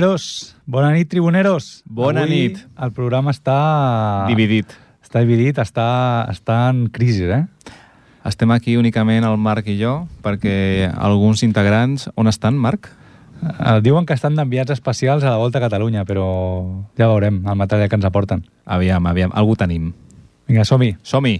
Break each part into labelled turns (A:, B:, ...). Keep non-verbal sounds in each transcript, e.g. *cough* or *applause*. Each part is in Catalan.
A: Tribuneros, bona nit, tribuneros.
B: Bona
A: Avui
B: nit.
A: El programa està...
B: Dividit.
A: Està dividit, està, està en crisi, eh?
B: Estem aquí únicament el Marc i jo, perquè alguns integrants... On estan, Marc?
A: Eh, Diuen que estan d'enviats especials a la Volta a Catalunya, però ja veurem el material que ens aporten.
B: Aviam, aviam, algú tenim.
A: Vinga, som-hi.
B: Som-hi!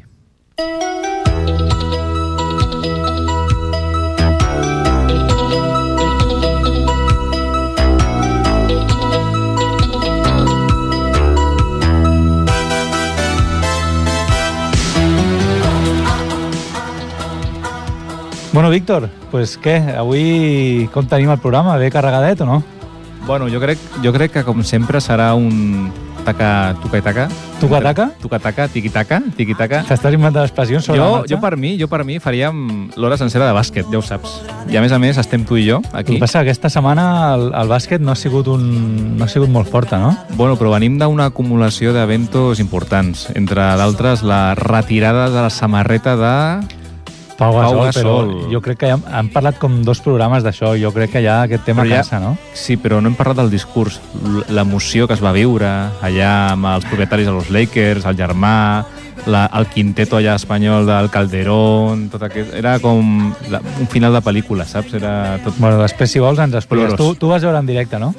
A: Bueno, Víctor, pues què? Avui com tenim el programa? Bé carregadet o no?
B: Bueno, jo crec, jo crec que, com sempre, serà un taca, tuca i taca.
A: Tuca-taca?
B: Tuca taca, tiqui taca, tiqui taca.
A: T'estàs inventant expressions sobre la
B: Jo,
A: marxa?
B: jo, per mi, jo per mi faríem l'hora sencera de bàsquet, ja ho saps. I a més a més estem tu i jo
A: El
B: aquí.
A: que passa, aquesta setmana el, el bàsquet no ha sigut, un, no ha sigut molt forta, no?
B: Bueno, però venim d'una acumulació d'eventos importants. Entre d'altres, la retirada de la samarreta de...
A: Pau Gasol,
B: Pau
A: però
B: Gasol.
A: jo crec que ja han parlat com dos programes d'això, jo crec que ja aquest tema
B: Però ja-
A: cansa, no?
B: Sí, però no hem parlat del discurs, l- l'emoció que es va viure allà amb els propietaris de los Lakers, el germà, la, el quinteto allà espanyol del Calderón, tot aquest... Era com la, un final de pel·lícula, saps? Era tot...
A: Bueno, després, si vols, ens expliques.
B: Ploros.
A: Tu, tu vas veure en directe, no?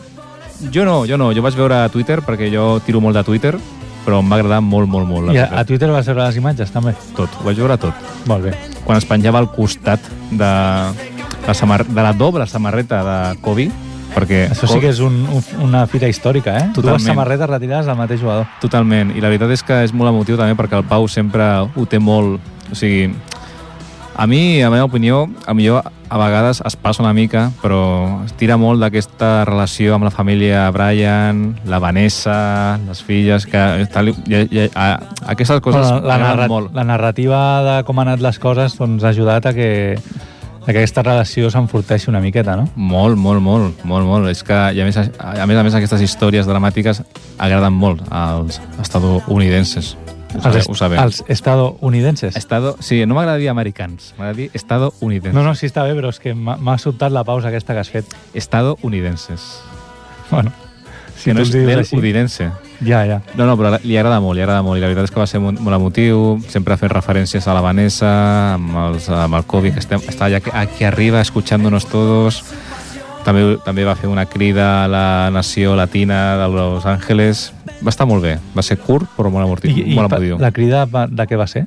B: Jo no, jo no. Jo vaig veure a Twitter, perquè jo tiro molt de Twitter, però em va agradar molt, molt, molt. La
A: I a, a
B: veritat.
A: Twitter vas veure les imatges, també.
B: Tot, ho vaig veure tot.
A: Molt bé.
B: quan es penjava al costat de la, samar de la doble samarreta de Kobe, perquè
A: Això sí que és un, un, una fita històrica, eh?
B: Totalment.
A: Dues samarretes retirades del mateix jugador.
B: totalment, i la veritat és que és molt emotiu també perquè el Pau sempre ho té molt, o sigui, a mi, a la meva opinió, a millor a vegades es passa una mica, però es tira molt d'aquesta relació amb la família Brian, la Vanessa, les filles, que tal, ja, ja, a, aquestes coses
A: Bueno, la,
B: m'agraden
A: narra
B: molt.
A: la narrativa de com han anat les coses doncs, ha ajudat a que a que aquesta relació s'enforteixi una miqueta, no?
B: Molt, molt, molt, molt, molt. És que, i a més a, a més, a més aquestes històries dramàtiques agraden molt als estadounidenses. Ho, sabe,
A: est-
B: ho sabem.
A: els estadounidenses.
B: Estado... Sí, no m'agrada dir americans, m'agrada dir estadounidenses.
A: No, no, sí està bé, però és que m'ha m'ha sobtat la pausa aquesta que has fet.
B: Estadounidenses.
A: Bueno, si
B: que no
A: tu
B: és
A: els dius
B: del
A: així.
B: udinense.
A: Ja, ja.
B: No, no, però li agrada molt, li agrada molt. I la veritat és que va ser molt, molt emotiu, sempre fent referències a la Vanessa, amb, els, amb el Kobe, que estem, està allà aquí arriba, escuchándonos todos. També, també va fer una crida a la nació latina de Los Angeles. Va estar molt bé. Va ser curt, però molt amortit.
A: I, i
B: molt
A: pa-
B: emotiu.
A: la crida va- de què va ser?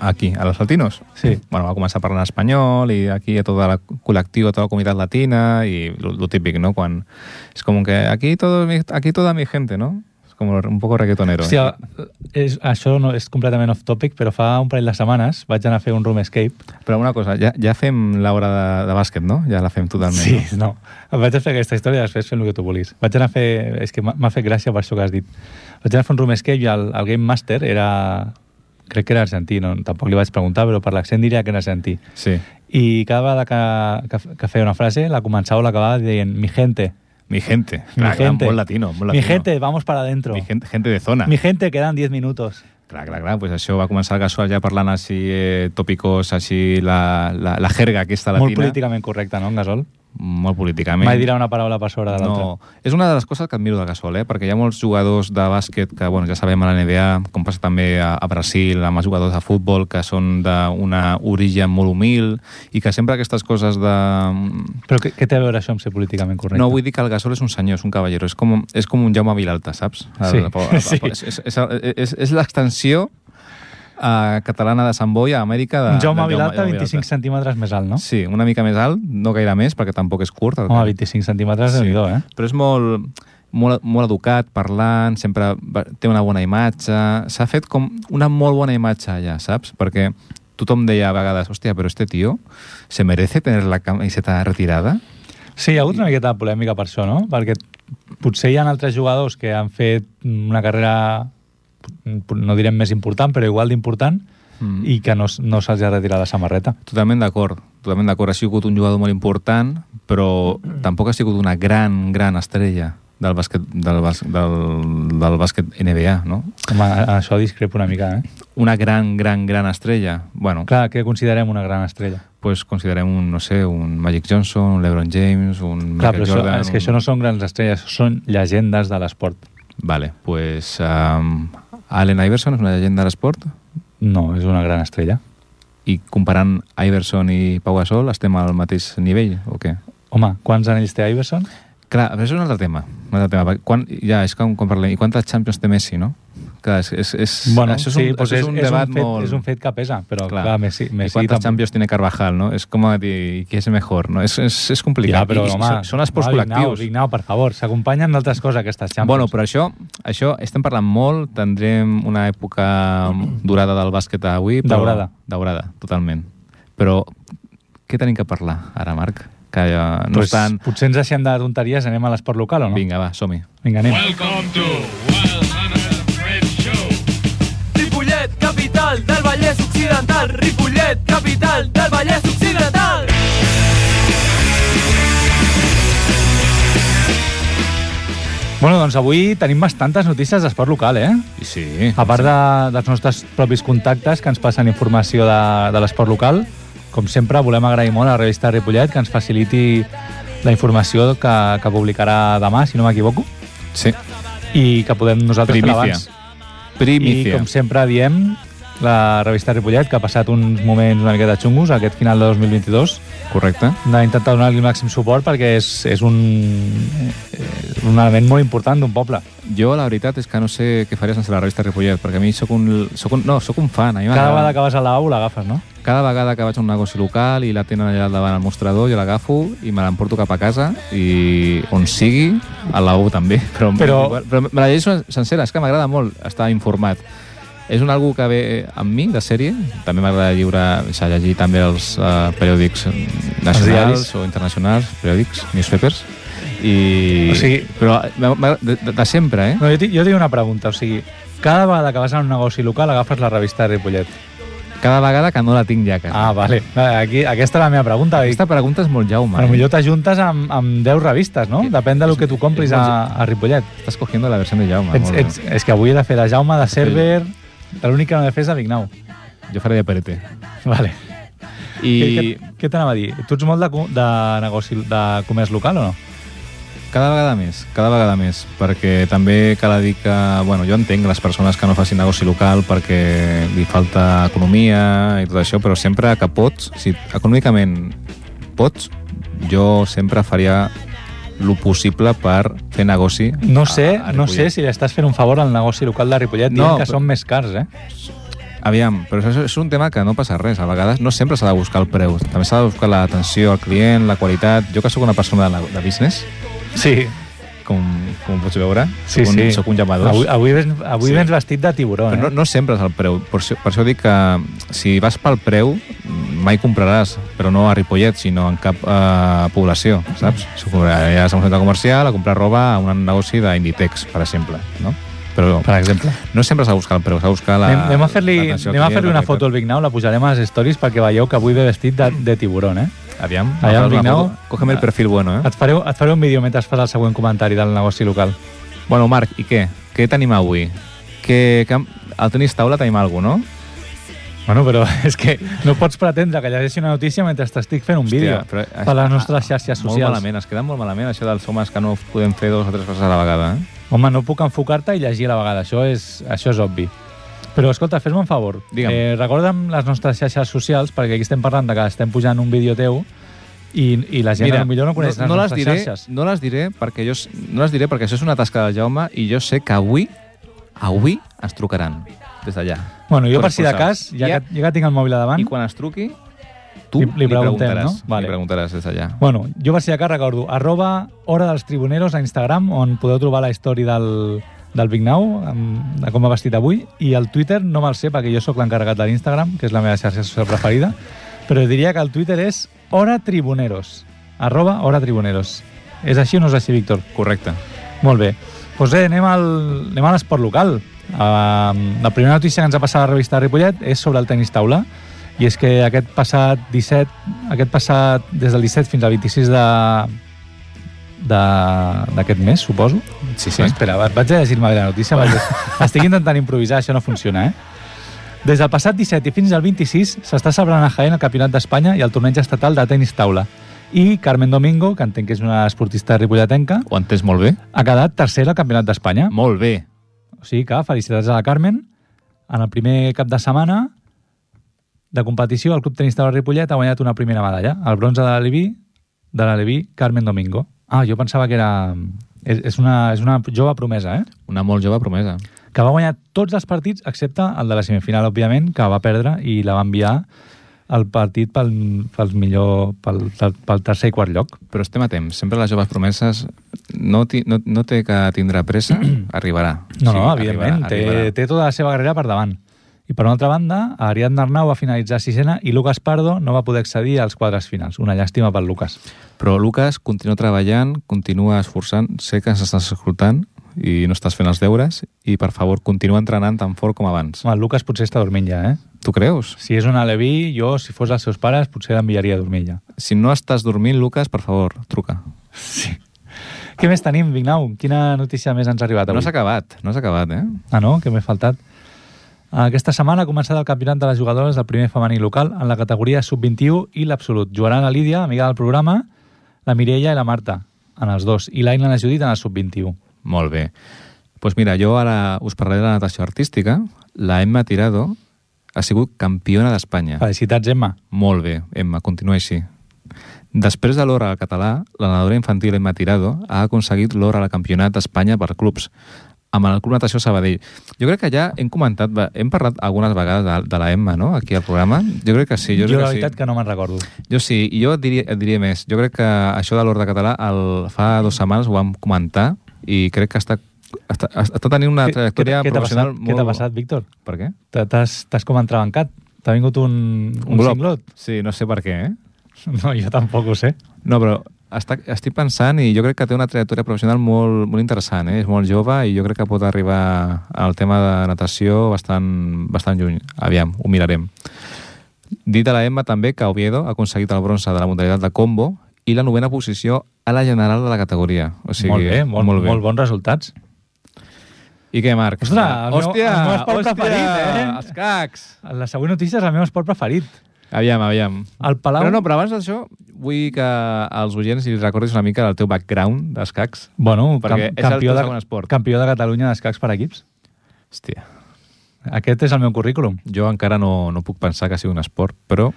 B: Aquí, a los latinos.
A: Sí.
B: Bueno, va començar parlant espanyol i aquí a tota la col·lectiva, a tota la comunitat latina i lo, lo típic, no? Quan és com que aquí, todo, mi- aquí toda mi gente, no? És com un poco reggaetonero. eh?
A: Hòstia, és, això no, és completament off-topic, però fa un parell de setmanes vaig anar a fer un room escape.
B: Però una cosa, ja, ja fem l'hora de, de bàsquet, no? Ja la fem totalment. No?
A: no. Vaig a fer aquesta història i després fent el que tu vulguis. Vaig anar a fer... És que m'ha- m'ha fet gràcia per això que has dit. Vaig anar a fer un room escape i el, el Game Master era... Crec que era argentí, no, tampoc li vaig preguntar, però per l'accent diria que era argentí.
B: Sí.
A: I cada vegada que, que, que feia una frase, la començava o l'acabava dient mi gente,
B: Mi gente.
A: mi
B: Ah, Clar, clar,
A: gente,
B: Molt latino, molt
A: mi
B: latino.
A: gente, vamos para adentro.
B: Mi gente, gente de zona.
A: Mi gente, quedan 10 minutos.
B: Clar, clar, clar. Pues això va començar el Gasol ja parlant així eh, tòpicos, així la, la, la jerga aquesta latina.
A: Molt políticament correcte, no, en Gasol?
B: Molt políticament.
A: Mai dirà una paraula per sobre de l'altra.
B: No, és una de les coses que admiro del Gasol, eh? perquè hi ha molts jugadors de bàsquet que, bueno, ja sabem a la NBA, com passa també a, a Brasil, amb els jugadors de futbol que són d'una origen molt humil i que sempre aquestes coses de,
A: Però què, què té a veure això amb ser políticament correcte?
B: No vull dir que el Gasol és un senyor, és un cavallero, és com, és com un Jaume Vilalta, saps?
A: Sí, sí.
B: sí. És, és, és, és, és l'extensió eh, catalana de Sant Boi a Amèrica. De,
A: Un Jaume
B: del
A: Vilalta, 25
B: Vilalta.
A: centímetres més alt, no?
B: Sí, una mica més alt, no gaire més, perquè tampoc és curt. el
A: Home,
B: que-
A: 25 centímetres, sí. déu eh?
B: Però és molt, molt, molt educat, parlant, sempre va- té una bona imatge. S'ha fet com una molt bona imatge allà, saps? Perquè tothom deia a vegades, hòstia, però este tio se merece tener la camiseta retirada?
A: Sí, hi ha hagut una miqueta de polèmica per això, no? Perquè potser hi ha altres jugadors que han fet una carrera, no direm més important, però igual d'important,
B: Mm.
A: i que no, s- no se'ls ha retirat la samarreta.
B: Totalment d'acord, totalment d'acord. Ha sigut un jugador molt important, però tampoc ha sigut una gran, gran estrella del bàsquet, del, bàs- del, del bàsquet NBA, no?
A: Home, a- això discrepo una mica, eh?
B: Una gran, gran, gran estrella. Bueno,
A: Clar, que considerem una gran estrella.
B: pues considerem un, no sé, un Magic Johnson, un LeBron James, un
A: Clar,
B: Michael
A: però això,
B: Jordan...
A: és que
B: un-
A: això no són grans estrelles, són llegendes de l'esport.
B: Vale, pues... Um, Allen Iverson és una llegenda de l'esport
A: No, és una gran estrella.
B: i comparant Iverson i Pau Gasol estem al mateix nivell o què?
A: Home, quants anells té Iverson?
B: Clar, però això és un altre tema. Un altre tema. perquè Quan, ja, és com, quan parlem... I quantes Champions té Messi, no? Clar, és, és, és, això és un,
A: doncs
B: això és un debat
A: un fet,
B: molt...
A: És un fet que pesa, però clar,
B: Clar.
A: clar Messi...
B: Messi, I
A: Messi
B: quantes
A: tampoc-
B: Champions tiene Carvajal, no? És com a dir, qui és mejor, no? És, és, és complicat.
A: Ja, però,
B: I
A: home,
B: són- són esports
A: va, Vignau,
B: col·lectius.
A: Vignau, per favor, s'acompanyen d'altres coses aquestes Champions.
B: Bueno, però això, això estem parlant molt, tindrem una època durada del bàsquet avui. Però,
A: Daurada.
B: Daurada, totalment. Però què tenim que parlar ara, Marc? Que ja no
A: Pues,
B: pues, estan...
A: Potser ens deixem de tonteries, anem a l'esport local o no?
B: Vinga, va, som-hi.
A: Vinga anem.
C: Welcome to Wild Hunter Fred Show.
D: Ripollet, capital del Vallès Occidental. Ripollet, capital del Vallès Occidental.
A: Bueno, doncs avui tenim bastantes notícies d'esport local, eh?
B: I sí.
A: A part de, dels nostres propis contactes que ens passen informació de, de l'esport local, com sempre volem agrair molt a la revista Ripollet que ens faciliti la informació que, que publicarà demà, si no m'equivoco,
B: Sí.
A: i que podem nosaltres fer
B: Primícia.
A: abans. I
B: Primícia.
A: com sempre diem, la revista Ripollet, que ha passat uns moments una miqueta xungos aquest final de 2022,
B: Correcte.
A: de intentar donar-li el màxim suport perquè és, és un, eh, un element molt important d'un poble.
B: Jo, la veritat, és que no sé què faria sense la revista Ripollet, perquè a mi sóc un... Sóc un no, sóc un fan. A mi
A: Cada
B: m'agrada-
A: vegada que vas a l'AU l'agafes, no?
B: Cada vegada que vaig a un negoci local i la tenen allà al davant al mostrador, jo l'agafo i me l'emporto cap a casa i on sigui, a la U també. *laughs* Però,
A: Però-
B: igual- però me la llegeixo sencera, és que m'agrada molt estar informat. És un algú que ve amb mi, de sèrie. També m'agrada lliure, o sigui, llegir també els eh, periòdics nacionals
A: diaris.
B: o internacionals, periòdics, newspapers. I,
A: O sigui-
B: però m'agrada- de, de, de sempre, eh?
A: No, jo, tinc, jo tinc una pregunta, o sigui, cada vegada que vas a un negoci local agafes la revista de Ripollet.
B: Cada vegada que no la tinc ja a casa.
A: Ah, vale. Vale, Aquí, aquesta és la meva pregunta. Aquesta...
B: Aquesta pregunta és molt Jaume.
A: A lo
B: eh?
A: millor t'ajuntes amb, amb 10 revistes, no?
B: Sí.
A: Depèn del que tu compris
B: és
A: a,
B: molt
A: a Ripollet.
B: Estàs cogiendo la versión de Jaume.
A: Ets,
B: molt bé.
A: ets, és que avui he de fer de Jaume, de Cerver... de L'únic que no he de fer és de Vignau.
B: Jo faré de Perete.
A: *laughs* Vale. I...
B: I
A: Què, què t'anava a dir? Tu ets molt de, co- de negoci, de comerç local o no?
B: cada vegada més, cada vegada més, perquè també cal dir que, bueno, jo entenc les persones que no facin negoci local perquè li falta economia i tot això, però sempre que pots, si econòmicament pots, jo sempre faria lo possible per fer negoci.
A: No sé,
B: a- a
A: no
B: Ripollet.
A: sé si li estàs fent un favor al negoci local de Ripollet dient
B: No,
A: que
B: però-
A: són més cars, eh?
B: Aviam, però això és un tema que no passa res. A vegades no sempre s'ha de buscar el preu. També s'ha de buscar l'atenció al client, la qualitat. Jo que sóc una persona de, de business,
A: Sí,
B: com, com pots veure.
A: sí,
B: soc un,
A: sí.
B: Soc un llamador.
A: Avui, avui, vens, avui
B: Sí.
A: vens vestit de tiburó, eh?
B: Però no, no sempre és el preu. Per això, per això dic que mm, si vas pel preu, mm, mai compraràs, però no a Ripollet, sinó en cap eh, població, saps?
A: Mm.
B: Si compraràs a un centre comercial, a comprar roba a un negoci d'Inditex, per exemple, no? Però
A: Per exemple.
B: no sempre s'ha de buscar el preu, s'ha de buscar la...
A: anem, anem a fer-li
B: l'atenció al
A: anem a
B: client,
A: fer-li
B: la
A: una
B: qualitat.
A: foto al Vignau, la pujarem a les stories perquè veieu que avui ve vestit de, de tiburó, eh?
B: Aviam,
A: Allà al
B: agafes una
A: Vignau.
B: foto. Cógeme el perfil bueno, eh?
A: Et faré, et faré un vídeo mentre fas el següent comentari del negoci local.
B: Bueno, Marc, i què? Què tenim avui? Que, que al tenis taula tenim alguna cosa, no?
A: Bueno, però *laughs* és que no pots pretendre que llegeixi una notícia mentre t'estic fent un vídeo
B: però-
A: per les nostres xarxes
B: Molt
A: socials.
B: malament, es queda molt malament això dels homes que no podem fer dos o tres coses a la vegada, eh?
A: Home, no puc enfocar-te i llegir a la vegada, això és, això és obvi. Però escolta, fes-me un favor.
B: Digue'm.
A: Eh, recorda'm les nostres xarxes socials, perquè aquí estem parlant de que estem pujant un vídeo teu i, i la gent Mira, potser no coneix les
B: no, les
A: nostres
B: diré,
A: xarxes.
B: no les diré perquè jo s- no les diré perquè això és una tasca del Jaume i jo sé que avui avui ens trucaran des d'allà.
A: Bueno, jo per
B: Corresponsals.
A: si de cas, ja,
B: Ja-
A: que, ja que tinc el mòbil a davant...
B: I quan es truqui tu
A: Li-
B: li,
A: li preguntem,
B: preguntaràs,
A: no? Vale.
B: li preguntaràs des d'allà.
A: Bueno, jo per si de cas recordo, arroba Hora dels Tribuneros a Instagram, on podeu trobar la història del, del Big Now, amb- de com ha vestit avui, i el Twitter no me'l sé perquè jo sóc l'encarregat de l'Instagram, que és la meva xarxa social preferida, però diria que el Twitter és Hora Tribuneros, arroba Hora Tribuneros. És així o no és així, Víctor?
B: Correcte.
A: Molt bé. Doncs bé, anem, al, anem a l'esport local. Uh, la primera notícia que ens ha passat a la revista de Ripollet és sobre el tenis taula. I és que aquest passat 17, aquest passat, des del 17 fins al 26 de, de- d'aquest mes, suposo.
B: Sí,
A: Sí.
B: sí.
A: Espera, va- vaig a llegir-me bé la notícia. Vaig... Estic intentant improvisar, això no funciona, eh? Des del passat 17 i fins al 26 s'està celebrant a Jaén el Campionat d'Espanya i el torneig estatal de tennis taula. I Carmen Domingo, que entenc que és una esportista ripollatenca,
B: Ho entès molt bé?
A: ha quedat tercera al Campionat d'Espanya.
B: Molt bé.
A: O sigui que felicitats a la Carmen. En el primer cap de setmana de competició, el Club Tenista de Ripollet ha guanyat una primera medalla. El bronze de la Leví, de la Leví Carmen Domingo. Ah, jo pensava que era... És, és, una, és una jove promesa, eh?
B: Una molt jove promesa.
A: que va guanyar tots els partits excepte el de la semifinal, òbviament, que va perdre i la va enviar al partit pel, pel millor, pel, pel tercer i quart lloc.
B: Però estem a temps. Sempre les joves promeses no, ti, no, no té que tindre pressa, *clears throat* arribarà.
A: No,
B: Sí,
A: no, evidentment,
B: arribarà,
A: té,
B: arribarà.
A: té tota la seva carrera per davant. I per una altra banda, Ariadna Arnau va finalitzar sisena i Lucas Pardo no va poder accedir als quadres finals. Una llàstima pel Lucas.
B: Però Lucas continua treballant, continua esforçant, sé que ens estàs escoltant i no estàs fent els deures i per favor continua entrenant tan fort com abans.
A: Home, el Lucas potser està dormint ja, eh?
B: Tu creus?
A: Si és un aleví, jo, si fos els seus pares, potser l'enviaria a dormir ja.
B: Si no estàs dormint, Lucas, per favor, truca.
A: Què més tenim, Vignau? Quina notícia més ens ha arribat avui?
B: No s'ha acabat, no s'ha acabat, eh?
A: Ah, no? Que m'he faltat. Aquesta setmana ha començat el campionat de les jugadores del primer femení local en la categoria sub-21 i l'absolut. Jugaran la Lídia, amiga del programa, la Mireia i la Marta, en els dos, i l'Aina i la Judit en el sub-21.
B: Molt bé. Doncs pues mira, jo ara us parlaré de la natació artística. La Emma Tirado ha sigut campiona d'Espanya.
A: Felicitats, Emma.
B: Molt bé, Emma, continua així. Després de l'hora al català, la nadadora infantil Emma Tirado ha aconseguit l'hora al Campionat d'Espanya per clubs, amb el Club Natació Sabadell. Jo crec que ja hem comentat, va- hem parlat algunes vegades de, de la Emma, no?, aquí al programa. Jo crec que sí. Jo,
A: jo
B: crec
A: la
B: que sí.
A: veritat que no me'n recordo.
B: Jo sí, i jo et diria, et diria més. Jo crec que això de l'ordre català el, fa dues setmanes ho vam comentar i crec que està, està, està tenint una
A: Què-
B: trajectòria
A: què- què t'ha
B: professional
A: passat?
B: molt...
A: Què t'ha passat, Víctor?
B: Per què?
A: T'ha- T'has t'has com entrebancat? T'ha vingut un, un,
B: glob.
A: cinglot?
B: Sí, no sé per què, eh?
A: *laughs* No, jo tampoc ho sé.
B: No, però està, estic pensant i jo crec que té una trajectòria professional molt, molt interessant, eh? És molt jove i jo crec que pot arribar al tema de natació bastant, bastant lluny. Aviam, ho mirarem. Dit a la Emma també que Oviedo ha aconseguit el bronze de la modalitat de combo i la novena posició a la general de la categoria. O sigui,
A: molt bé, molt, molt, molt bons resultats.
B: I què, Marc?
A: Ostres, el meu-
B: hòstia,
A: el meu esport
B: hòstia,
A: preferit, eh?
B: els cacs.
A: La següent notícia és el meu esport preferit.
B: Aviam, aviam.
A: El Palau...
B: Però no, però abans d'això, vull que als oients hi recordis una mica del teu background d'escacs.
A: Bueno,
B: Perquè
A: cam-
B: és el
A: campió,
B: teu
A: de,
B: segon esport.
A: campió de Catalunya d'escacs per equips.
B: Hòstia.
A: Aquest és el meu currículum.
B: Jo encara no, no puc pensar que sigui un esport, però...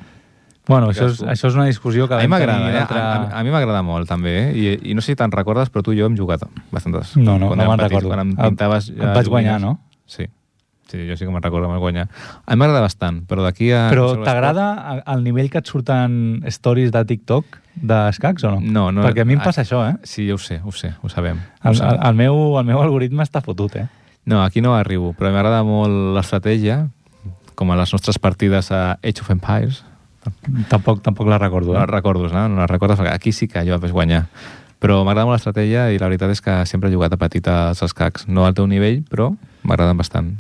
A: Bueno, això és,
B: Cadascú.
A: això és una discussió que
B: a mi
A: vam tenir
B: m'agrada, eh?
A: l'altre-
B: A, a, a mi m'agrada molt, també, eh? I, I no sé si te'n recordes, però tu i jo hem jugat bastantes.
A: No, no,
B: Quan
A: no
B: érem
A: me'n
B: petits,
A: recordo.
B: Quan em
A: Em-
B: pintaves...
A: em
B: ja
A: vaig guanyar,
B: joguines.
A: no?
B: Sí. Sí, jo sí que me'n recordo, me'n guanyar. A mi m'agrada bastant, però d'aquí a...
A: Però
B: sobre l'esport-
A: t'agrada a- el nivell que et surten stories de TikTok d'escacs o no?
B: No, no.
A: Perquè a mi em
B: Ah,
A: passa això, eh?
B: Sí, ja ho sé, ho sé, ho sabem. Ho
A: El, el,
B: sabem.
A: el, meu, el meu algoritme està fotut, eh?
B: No, aquí no arribo, però m'agrada molt l'estratègia, com a les nostres partides a Age of Empires.
A: Tampoc, tampoc la recordo.
B: No
A: Eh?
B: les recordo, no? No les recordes, perquè aquí sí que jo vaig guanyar. Però m'agrada molt l'estratègia i la veritat és que sempre he jugat a petit als escacs. No al teu nivell, però m'agraden bastant.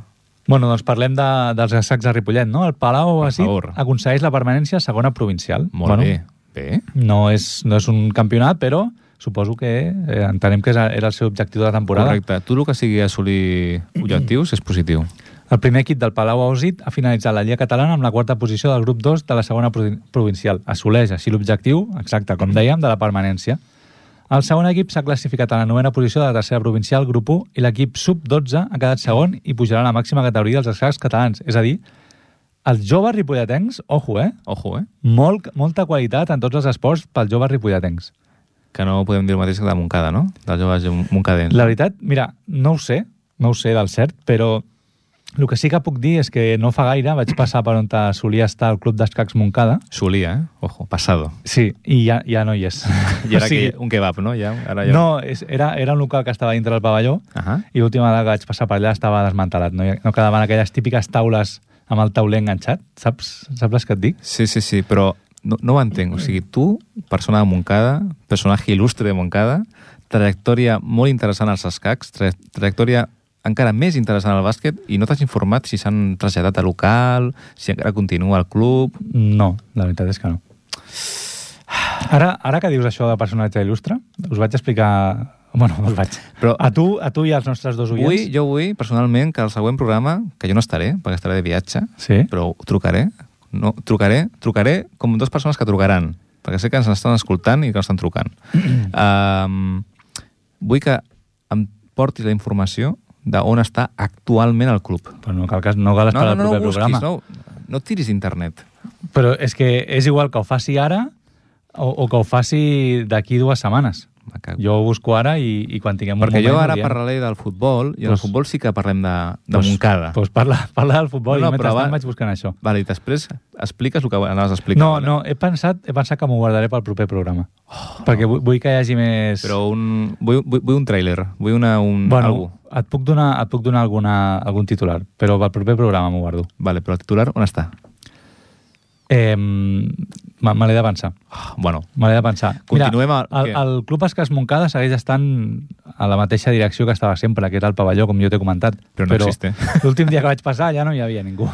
A: Bueno, doncs parlem de, dels escacs de Ripollet, no? El Palau
B: Per
A: Basit
B: favor.
A: aconsegueix la permanència a segona provincial.
B: Molt
A: bueno,
B: bé. Bé?
A: No és, no és un campionat, però suposo que eh, entenem que era era el seu objectiu de la temporada.
B: Correcte. Tu el que sigui assolir objectius és positiu.
A: El primer equip del Palau Ausit ha finalitzat la Lliga Catalana amb la quarta posició del grup 2 de la segona provi- provincial. Assoleix així l'objectiu, exacte, com dèiem, de la permanència. El segon equip s'ha classificat a la novena posició de la tercera provincial, grup 1, i l'equip sub-12 ha quedat segon i pujarà a la màxima categoria dels escacs catalans. És a dir, els joves ripolletens, ojo, eh?
B: Ojo, eh?
A: Molt, molta qualitat en tots els esports pels joves ripolletens.
B: Que no podem dir el mateix que de Montcada, no? Dels joves montcadents.
A: La veritat, mira, no ho sé, no ho sé del cert, però el que sí que puc dir és que no fa gaire vaig passar per on solia estar el Club d'Escacs Moncada.
B: Solia, eh? Ojo, passado.
A: Sí, i ja, ja no hi és.
B: I
A: *laughs*
B: ara que, un kebab, no? Ja, ara ja...
A: No, és, era, era un local que estava dintre del pavelló
B: Ahà.
A: i l'última vegada que vaig passar per allà estava desmantelat. No, hi- no quedaven aquelles típiques taules amb el tauler enganxat, saps, saps les que et dic?
B: Sí, sí, sí, però no, no ho entenc. O sigui, tu, persona de Montcada, personatge il·lustre de Montcada, trajectòria molt interessant als escacs, tra trajectòria encara més interessant al bàsquet, i no t'has informat si s'han traslladat a local, si encara continua al club...
A: No, la veritat és que no. Ara, ara que dius això de personatge il·lustre, us vaig explicar... Bueno, us vaig.
B: Però-
A: Però... A tu, a tu i als nostres dos oients...
B: Vull, jo vull, personalment, que el següent programa, que jo no estaré, perquè estaré de viatge,
A: Sí.
B: però trucaré, no, trucaré, trucaré com dues persones que trucaran, perquè sé que ens estan escoltant i que no
A: *clears throat*
B: estan trucant. um, vull que em porti la informació de on està actualment el club.
A: Però no cal, que, no cal esperar
B: no, no,
A: el
B: no,
A: proper programa.
B: busquis, no, no tiris d'internet.
A: Però és que és igual que ho faci ara o, o que ho faci d'aquí dues setmanes.
B: Me cago.
A: Jo ho busco ara i, i quan tinguem
B: Perquè
A: un moment...
B: jo ara
A: ho diem.
B: parlaré del futbol, i en el
A: Pues-
B: futbol sí que parlem de, de Montcada.
A: Doncs pues parla, parla del futbol no,
B: No, no,
A: no, i
B: però va-
A: mentrestant vaig buscant això.
B: Vale, i després expliques el que anaves a explicar.
A: No,
B: vale?
A: no, he pensat, he pensat que m'ho guardaré pel proper programa. Oh, perquè vull, vull que hi hagi més...
B: Però un, vull, vull, vull un tràiler, vull una, un,
A: bueno,
B: algú.
A: et puc donar, et puc donar alguna, algun titular, però pel proper programa m'ho guardo.
B: Vale, però el titular on està?
A: Eh, me me l'he de pensar.
B: Ah, Bueno,
A: Me l'he de pensar.
B: Continuem
A: Mira,
B: a-
A: el,
B: què?
A: el Club Escas Moncada segueix estant a la mateixa direcció que estava sempre, que era el pavelló, com jo t'he comentat.
B: Però no existe.
A: *laughs*
B: Ah,
A: L'últim dia que vaig passar ja no hi havia ningú.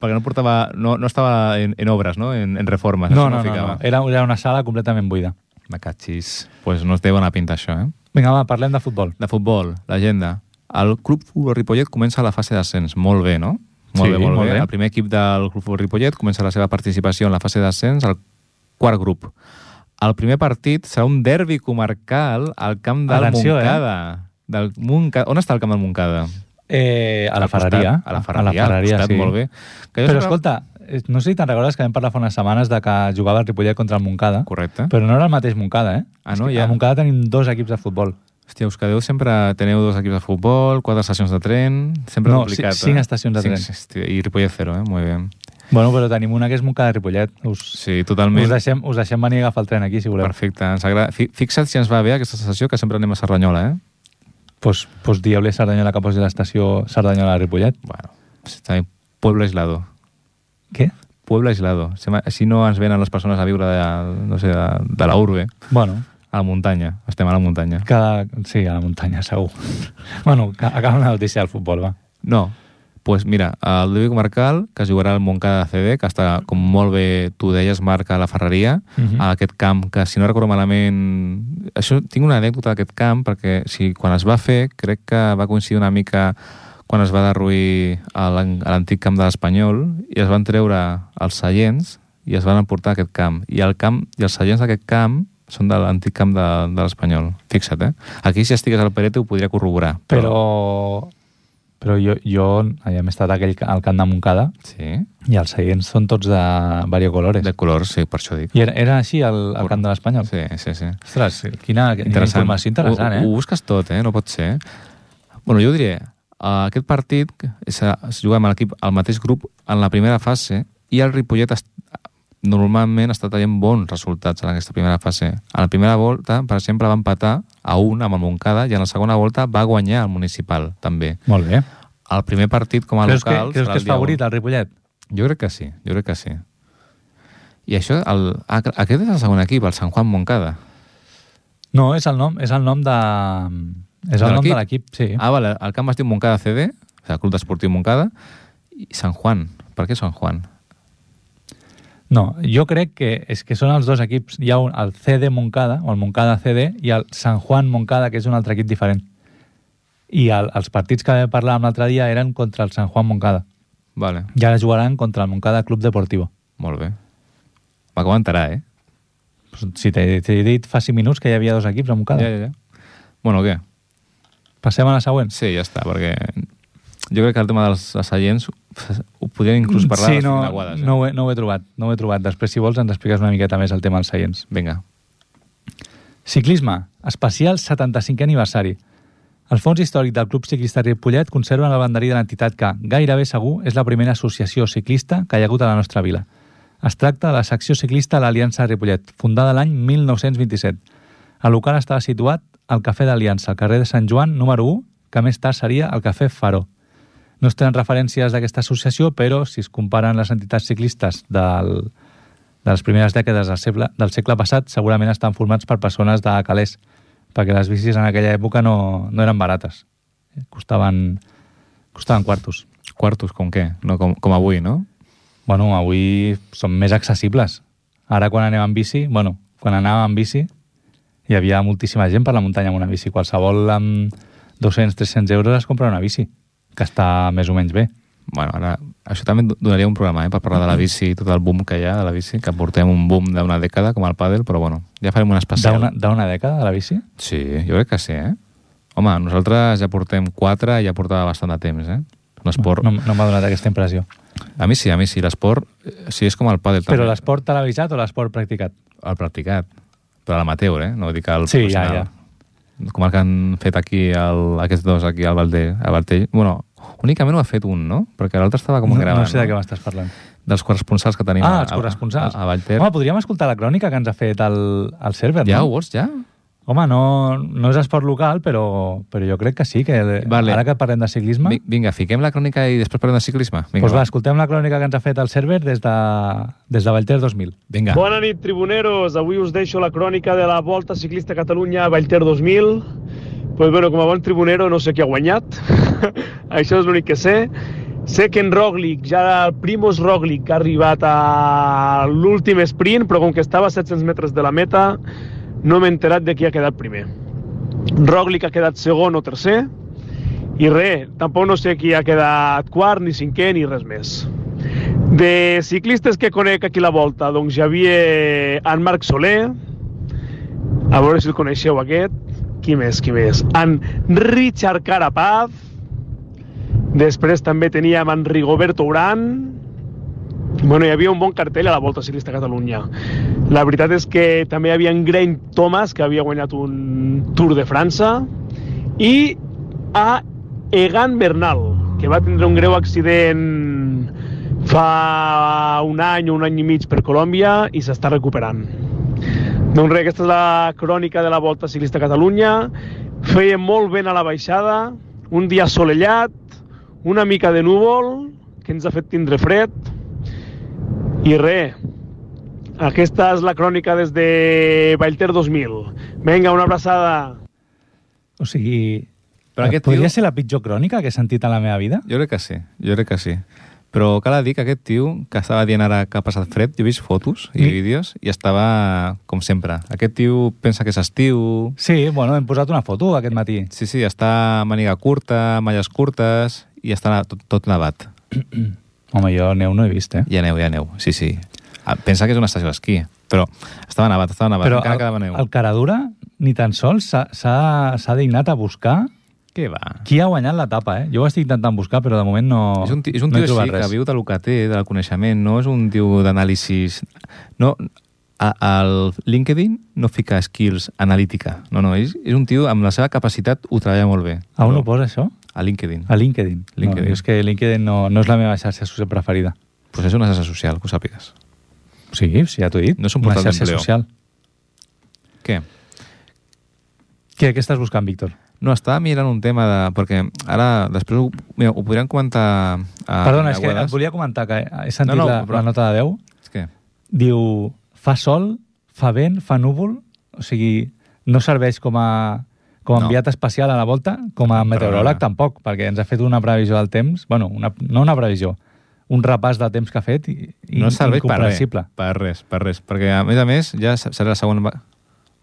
B: perquè no portava, no, no estava en, en obres, no? En, en reformes.
A: No, no,
B: això
A: no, no.
B: ficava.
A: Era, era una sala completament buida.
B: Me catxis. Pues no es té bona pinta, això, eh?
A: Vinga, va, parlem de futbol.
B: De futbol, l'agenda. El Club Futbol Ripollet comença la fase d'ascens. Molt bé, no? Molt
A: Sí,
B: bé, molt,
A: molt
B: bé.
A: bé.
B: El primer equip del Club Futbol Ripollet comença la seva participació en la fase d'ascens al quart grup. El primer partit serà un derbi comarcal al camp del
A: Atenció, eh?
B: Montcada. Del Montca... On està el camp del Montcada?
A: Eh, a la
B: Al costat,
A: Ferreria.
B: A la Ferreria,
A: A la Ferreria,
B: al costat,
A: sí.
B: molt bé. Que jo
A: Però
B: sempre-
A: escolta, eh, no sé si te'n recordes que vam parlar fa unes setmanes de que jugava el Ripollet contra el Montcada,
B: Correcte.
A: però no era el mateix Montcada, eh?
B: Ah,
A: És
B: no?
A: que
B: Ja.
A: A Montcada tenim dos equips de futbol.
B: Hòstia, us quedeu sempre... Teneu dos equips de futbol, quatre estacions de tren... Sempre
A: No,
B: complicat,
A: ci- cinc estacions de
B: Cinc-
A: tren.
B: hòstia, I Ripollet zero, eh? Molt bé.
A: Bueno, però tenim una que és Montcada-Ripollet. Us,
B: Sí,
A: us,
B: totalment.
A: deixem, us deixem venir a agafar el tren aquí, si voleu.
B: Perfecte, ens agrada. Fi- Fixa't si ens va bé aquesta sensació que sempre anem a Serranyola, eh?
A: Pues, pues diable Cerdanyola que posi l'estació Cerdanyola-Ripollet.
B: Bueno, està bé. Pueblo aislado.
A: Què?
B: Pueblo aislado. Se ma- Així no ens venen les persones a viure de, no sé, de, de la urbe,
A: Bueno,
B: a la muntanya. Estem a la muntanya.
A: cada... sí, a la muntanya, *laughs* segur. bueno, ca- acaba la notícia del futbol, va.
B: No, pues mira, el derbi comarcal que es jugarà al Montcada CD, que està, com molt bé tu deies, marca la Ferreria,
A: Mhm.
B: a aquest camp, que si no recordo malament... Això, tinc una anècdota d'aquest camp, perquè si, quan es va fer, crec que va coincidir una mica quan es va derruir a l'an- a l'antic camp de l'Espanyol, i es van treure els seients i es van emportar a aquest camp. I el camp i els seients d'aquest camp són de l'antic camp de, de l'Espanyol. Fixa't, eh? Aquí, si estigués al Perete, ho podria corroborar.
A: Però... Però jo, jo hem estat aquell, ca- al Camp de Montcada,
B: Sí?
A: I els seients són tots de variocolores.
B: De
A: De...
B: color, sí, per això dic.
A: I era, era així el, el camp de l'Espanyol?
B: Sí, sí, sí.
A: Ostres, quina, quina
B: Interessant.
A: Ah. informació interessant,
B: ho,
A: eh?
B: Ho busques tot, eh? No pot ser. Bueno, jo diré, eh, aquest partit es, es juga amb l'equip al mateix grup en la primera fase i el Ripollet es, normalment està traient bons resultats en aquesta primera fase. En la primera volta, per exemple, va empatar a un amb el Montcada i en la segona volta va guanyar el Municipal, també.
A: Molt bé.
B: El primer partit com a
A: Creus que,
B: local...
A: creus
B: serà
A: que
B: el
A: és
B: dia
A: favorit
B: un.
A: el Ripollet?
B: Jo crec que sí, jo crec que sí. I això, el, ah, aquest és el segon equip, el Sant Juan Moncada.
A: No, és el nom, és el nom de... És
B: De
A: el nom
B: l'equip?
A: de l'equip, sí.
B: Ah, vale, el camp es diu Moncada CD, o sigui, el Club Esportiu Moncada, i Sant Juan. Per què Sant Juan?
A: No, jo crec que és que són els dos equips. Hi ha un, el CD Moncada, o el Moncada CD, i el San Juan Moncada, que és un altre equip diferent. I el, els partits que parlàvem l'altre dia eren contra el San Juan Moncada.
B: Vale,
A: I ara jugaran contra el Moncada Club Deportivo.
B: molt bé. M'acabo d'enterar, eh?
A: Pues, si t'he t'he dit fa 5 minuts que hi havia dos equips a Moncada.
B: Ja, ja, ja. Bueno, què?
A: Passem a la següent?
B: Sí, ja està, perquè jo crec que el tema dels assaients ho podien inclús parlar
A: Mm, sí,
B: les
A: no,
B: aguades, eh?
A: no, ho he, no ho he trobat. No ho he trobat. Després, si vols, ens expliques una miqueta més el tema dels seients.
B: Vinga,
A: Ciclisme. Especial 75è aniversari. El fons històric del Club Ciclista Ripollet conserva la banderí de l'entitat que, gairebé segur, és la primera associació ciclista que hi ha hagut a la nostra vila. Es tracta de la secció ciclista de l'Aliança Ripollet, fundada l'any 1927. El local estava situat al Cafè d'Aliança, al carrer de Sant Joan, número 1, que més tard seria el Cafè Faro. No es tenen referències d'aquesta associació, però si es comparen les entitats ciclistes del, de les primeres dècades del segle, del segle passat segurament estan formats per persones de calés, perquè les bicis en aquella època no, no eren barates. Costaven, costaven quartos.
B: quartos com què? No, com, com avui, no?
A: Bueno, avui són més accessibles. Ara quan anem en bici, bueno, quan anava amb bici, hi havia moltíssima gent per la muntanya amb una bici. Qualsevol amb 200-300 euros es compra una bici, que està més o menys bé.
B: Bueno, ara, això també do- donaria un programa, eh, per parlar de
A: Mm-hmm.
B: la bici, tot el boom que hi ha de la bici, que portem un boom d'una dècada, com el pàdel, però bueno, ja farem un especial.
A: D'una d'una dècada, la bici?
B: Sí, jo crec que sí, eh? Home, nosaltres ja portem quatre i ja portava bastant de temps, eh? Un esport...
A: No, no m'ha donat aquesta impressió.
B: A mi sí, a mi sí, l'esport, eh, sí, és com el pàdel també.
A: Però l'esport televisat o l'esport practicat?
B: El practicat, però l'amateur, eh? No vull dir que el
A: Sí, ja,
B: professional. Com el que han fet aquí, el, aquests dos aquí al Valdell. A Valdell. Bueno, únicament ho ha fet un, no? Perquè l'altre estava com
A: no, no
B: gravant.
A: sé de què m'estàs parlant.
B: Dels corresponsals que tenim
A: Ah,
B: a-
A: els corresponsals.
B: A, a, a Vallter.
A: Home, podríem escoltar la crònica que ens ha fet el, el server,
B: ja ho
A: no?
B: vols, ja?
A: Home, no, no és esport local, però, però jo crec que sí, que
B: Vale.
A: ara que parlem de ciclisme...
B: Vi- Vinga, fiquem la crònica i després parlem de ciclisme. Vinga,
A: Doncs va, escoltem la crònica que ens ha fet el server des de, des de Vallter 2000.
B: Vinga.
E: Bona nit, tribuneros. Avui us deixo la crònica de la Volta Ciclista a Catalunya a Vallter 2000. Pues bueno, com a bon tribunero no sé qui ha guanyat. *laughs* Això és l'únic que sé. Sé que en Roglic, ja el Primus Roglic, ha arribat a l'últim sprint, però com que estava a 700 metres de la meta, no m'he enterat de qui ha quedat primer. Roglic ha quedat segon o tercer, i res, tampoc no sé qui ha quedat quart, ni cinquè, ni res més. De ciclistes que conec aquí a la volta, doncs hi havia en Marc Soler, a veure si el coneixeu aquest, qui més, qui més, en Richard Carapaz, després també teníem en Rigoberto Urán, bueno, hi havia un bon cartell a la Volta Ciclista a Catalunya. La veritat és que també hi havia en Grain Thomas, que havia guanyat un Tour de França, i a Egan Bernal, que va tindre un greu accident fa un any o un any i mig per Colòmbia i s'està recuperant. Doncs res, aquesta és la crònica de la Volta Ciclista a Catalunya. Feia molt vent a la baixada, un dia assolellat, una mica de núvol, que ens ha fet tindre fred. I res, aquesta és la crònica des de Vallter 2000. Vinga, una abraçada.
A: O sigui,
B: Però aquest
A: podria
B: tio-
A: ser la pitjor crònica que he sentit a la meva vida?
B: Jo crec que sí, jo crec que sí. Però cal dir que aquest tio que estava dient ara que ha passat fred, jo he vist fotos i
A: Mm.
B: vídeos i estava com sempre. Aquest tio pensa que és estiu,
A: Sí, bueno, hem posat una foto aquest matí.
B: sí, sí, està màniga curta, malles curtes i està na- tot, tot nevat.
A: Home, jo neu no he vist, eh?
B: Hi ha neu, hi ha neu, sí, sí. Ah, Pensa que és una estació d'esquí, però estava nevat, estava nevat, Ah, encara quedava
A: el,
B: neu.
A: el Caradura ni tan sols s'ha- s'ha s'ha dignat a buscar
B: Què va?
A: qui ha guanyat l'etapa, eh? Jo ho estic intentant buscar, però de moment no,
B: És un, ti- és un
A: Oh, no
B: tio
A: he trobat
B: així que
A: res.
B: viu de lo que té, del coneixement, no és un tio d'anàlisis... No, a- al LinkedIn no fica skills, analítica. No, no, és, és un tio amb la seva capacitat ho treballa molt bé.
A: A on ho
B: Però-
A: posa, això?
B: A LinkedIn.
A: A LinkedIn.
B: LinkedIn.
A: No, és que LinkedIn no, no és la meva xarxa social preferida.
B: Pues és una xarxa social, que ho sàpigues.
A: Sí, sí, ja t'ho he dit.
B: No és un
A: Una
B: portal
A: xarxa
B: d'empleo.
A: social.
B: Què?
A: Què, què estàs buscant, Víctor?
B: No, estava mirant un tema de... Perquè ara, després, ho, mira, ho podríem comentar... A,
A: Perdona,
B: a
A: és que
B: Guedes.
A: et volia comentar que he sentit
B: No, no,
A: la,
B: però-
A: la nota de 10.
B: És que...
A: Diu, fa sol, fa vent, fa núvol, o sigui, no serveix com a, com a
B: No.
A: enviat especial a la volta, com a meteoròleg
B: no.
A: tampoc, perquè ens ha fet una previsió del temps, bueno, una, no una previsió, un repàs del temps que ha fet i, i
B: no serveix per res,
A: incomprensible.
B: per res, per res, perquè a més a més ja se- serà la següent... va-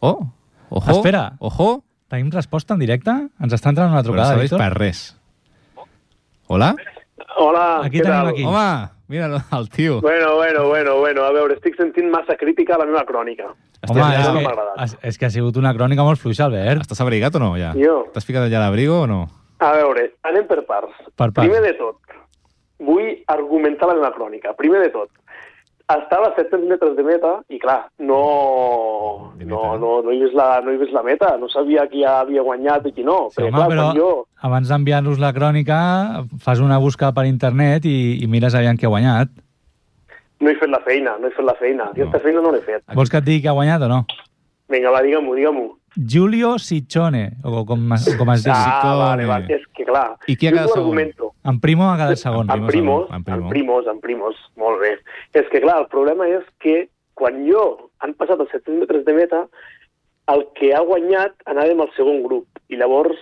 B: Oh, ojo,
A: Espera.
B: ojo,
A: Tenim resposta en directe? Ens està entrant una
B: però no
A: trucada,
B: serveix
A: Víctor?
B: per res. Hola?
E: Hola,
A: Aquí
E: què
A: tenim
E: tal?
A: aquí.
B: Home, mira el tio.
E: Bueno, bueno, bueno, bueno, a veure, estic sentint massa crítica a la meva crònica.
A: Home,
B: Estàs-
A: és,
E: no m'ha
A: que,
E: agradat.
A: és, és que ha sigut una crònica molt fluixa, Albert.
B: Estàs abrigat o no, ja?
E: Jo.
B: T'has ficat allà a l'abrigo o no?
E: A veure, anem per parts.
A: Per parts.
E: Primer de tot, vull argumentar la meva crònica. Primer de tot, estava a 700 metres de meta i, clar, no,
B: De meta, eh?
E: no, no, no, he vist la, no he vist la meta. No sabia qui havia guanyat i qui no.
A: Sí,
E: perquè,
A: home,
E: clar,
A: però
E: quan jo...
A: abans d'enviar-nos la crònica fas una busca per internet i, i mires aviam qui ha guanyat.
E: No he fet la feina, no he fet la feina. Aquesta
B: No.
E: feina no l'he fet.
A: Vols que et digui qui ha guanyat o no?
E: Vinga, va, digue-m'ho, digue-m'ho.
A: Julio Siccione, o com, es- com es diu.
E: Ah,
B: Sicone.
E: vale, vale. És que, clar,
B: eh. I qui ha
E: jo
B: quedat
E: t'ho
B: segon?
E: argumento.
A: En Primo ha quedat segon.
B: Primo és el-
E: En primos,
B: en
E: en
B: Primo.
E: primos, en primos, molt bé. És que, clar, el problema és que quan jo han passat els 700 metres de meta, el que ha guanyat anàvem al segon grup. I llavors,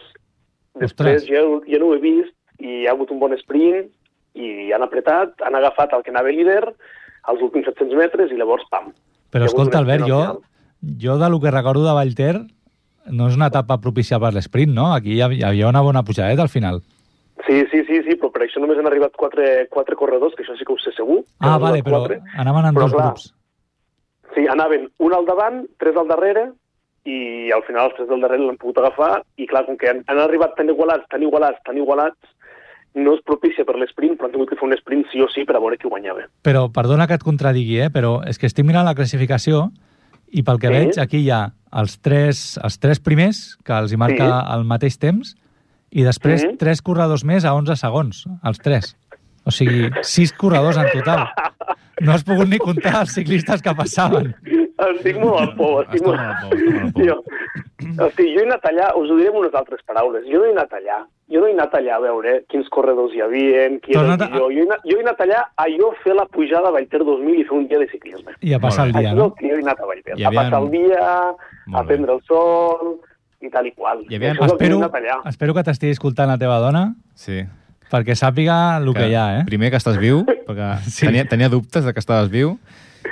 E: després
A: Ostres.
E: jo, jo no ho he vist i hi ha hagut un bon sprint i han apretat, han agafat el que anava líder als últims 700 metres i llavors, pam.
A: Però
E: Hi ha hagut
A: escolta,
E: un
A: Albert,
E: accident
A: jo,
E: al final.
A: Jo de lo que recordo de Vallter no és una etapa propícia per l'esprint, no? Aquí hi havia, hi havia una bona pujadeta al final.
F: Sí, sí, sí, sí, però per això només han arribat quatre, quatre corredors, que això sí que ho sé segur. que
A: Ah,
F: han
A: vale,
F: arribat
A: però
F: quatre.
A: anaven en
F: Però,
A: dos
F: clar,
A: grups.
F: Sí, anaven un al davant, tres al darrere, i al final els tres del darrere l'han pogut agafar, i clar, com que han, han arribat tan igualats, tan igualats, tan igualats, no és propícia per l'esprint, però han tingut que fer un sprint sí o sí per a veure qui guanyava.
A: Però, perdona que et contradigui, eh? però és que estic mirant la classificació i pel que
F: Sí.
A: sí. veig aquí hi ha els tres, els tres primers, que els hi marca
F: Sí.
A: al mateix temps, i després
F: Mhm.
A: tres corredors més a 11 segons, els tres. O sigui, sis corredors en total. No has pogut ni comptar els ciclistes que passaven.
F: Estic molt al pou, estic
B: Està
F: molt...
B: molt al pou, està molt al
F: *laughs*
B: pou.
F: Jo, hosti, jo he anat allà, us ho diré amb unes altres paraules, jo no he anat allà, jo no he anat allà a veure quins corredors hi havia, qui era el
A: Torna't a-
F: millor, jo he, anat, jo he anat allà a jo fer la pujada a Vallter 2000 i fer un dia de ciclisme.
A: I a passar el
F: Això
A: dia,
F: és el
A: no?
F: que jo he anat a Vallter,
B: Hi
F: a
B: havia-
F: passar el dia,
B: Molt
F: a
B: bé.
F: prendre el sol i tal i qual.
B: Hi havia-
F: Això és el que jo
A: Espero,
F: he anat allà.
A: espero que t'estigui escoltant la teva dona
B: Sí.
A: perquè sàpiga el que hi ha, eh?
B: Primer que estàs viu,
A: *laughs*
B: perquè sí. tenia, tenia dubtes de que estaves viu,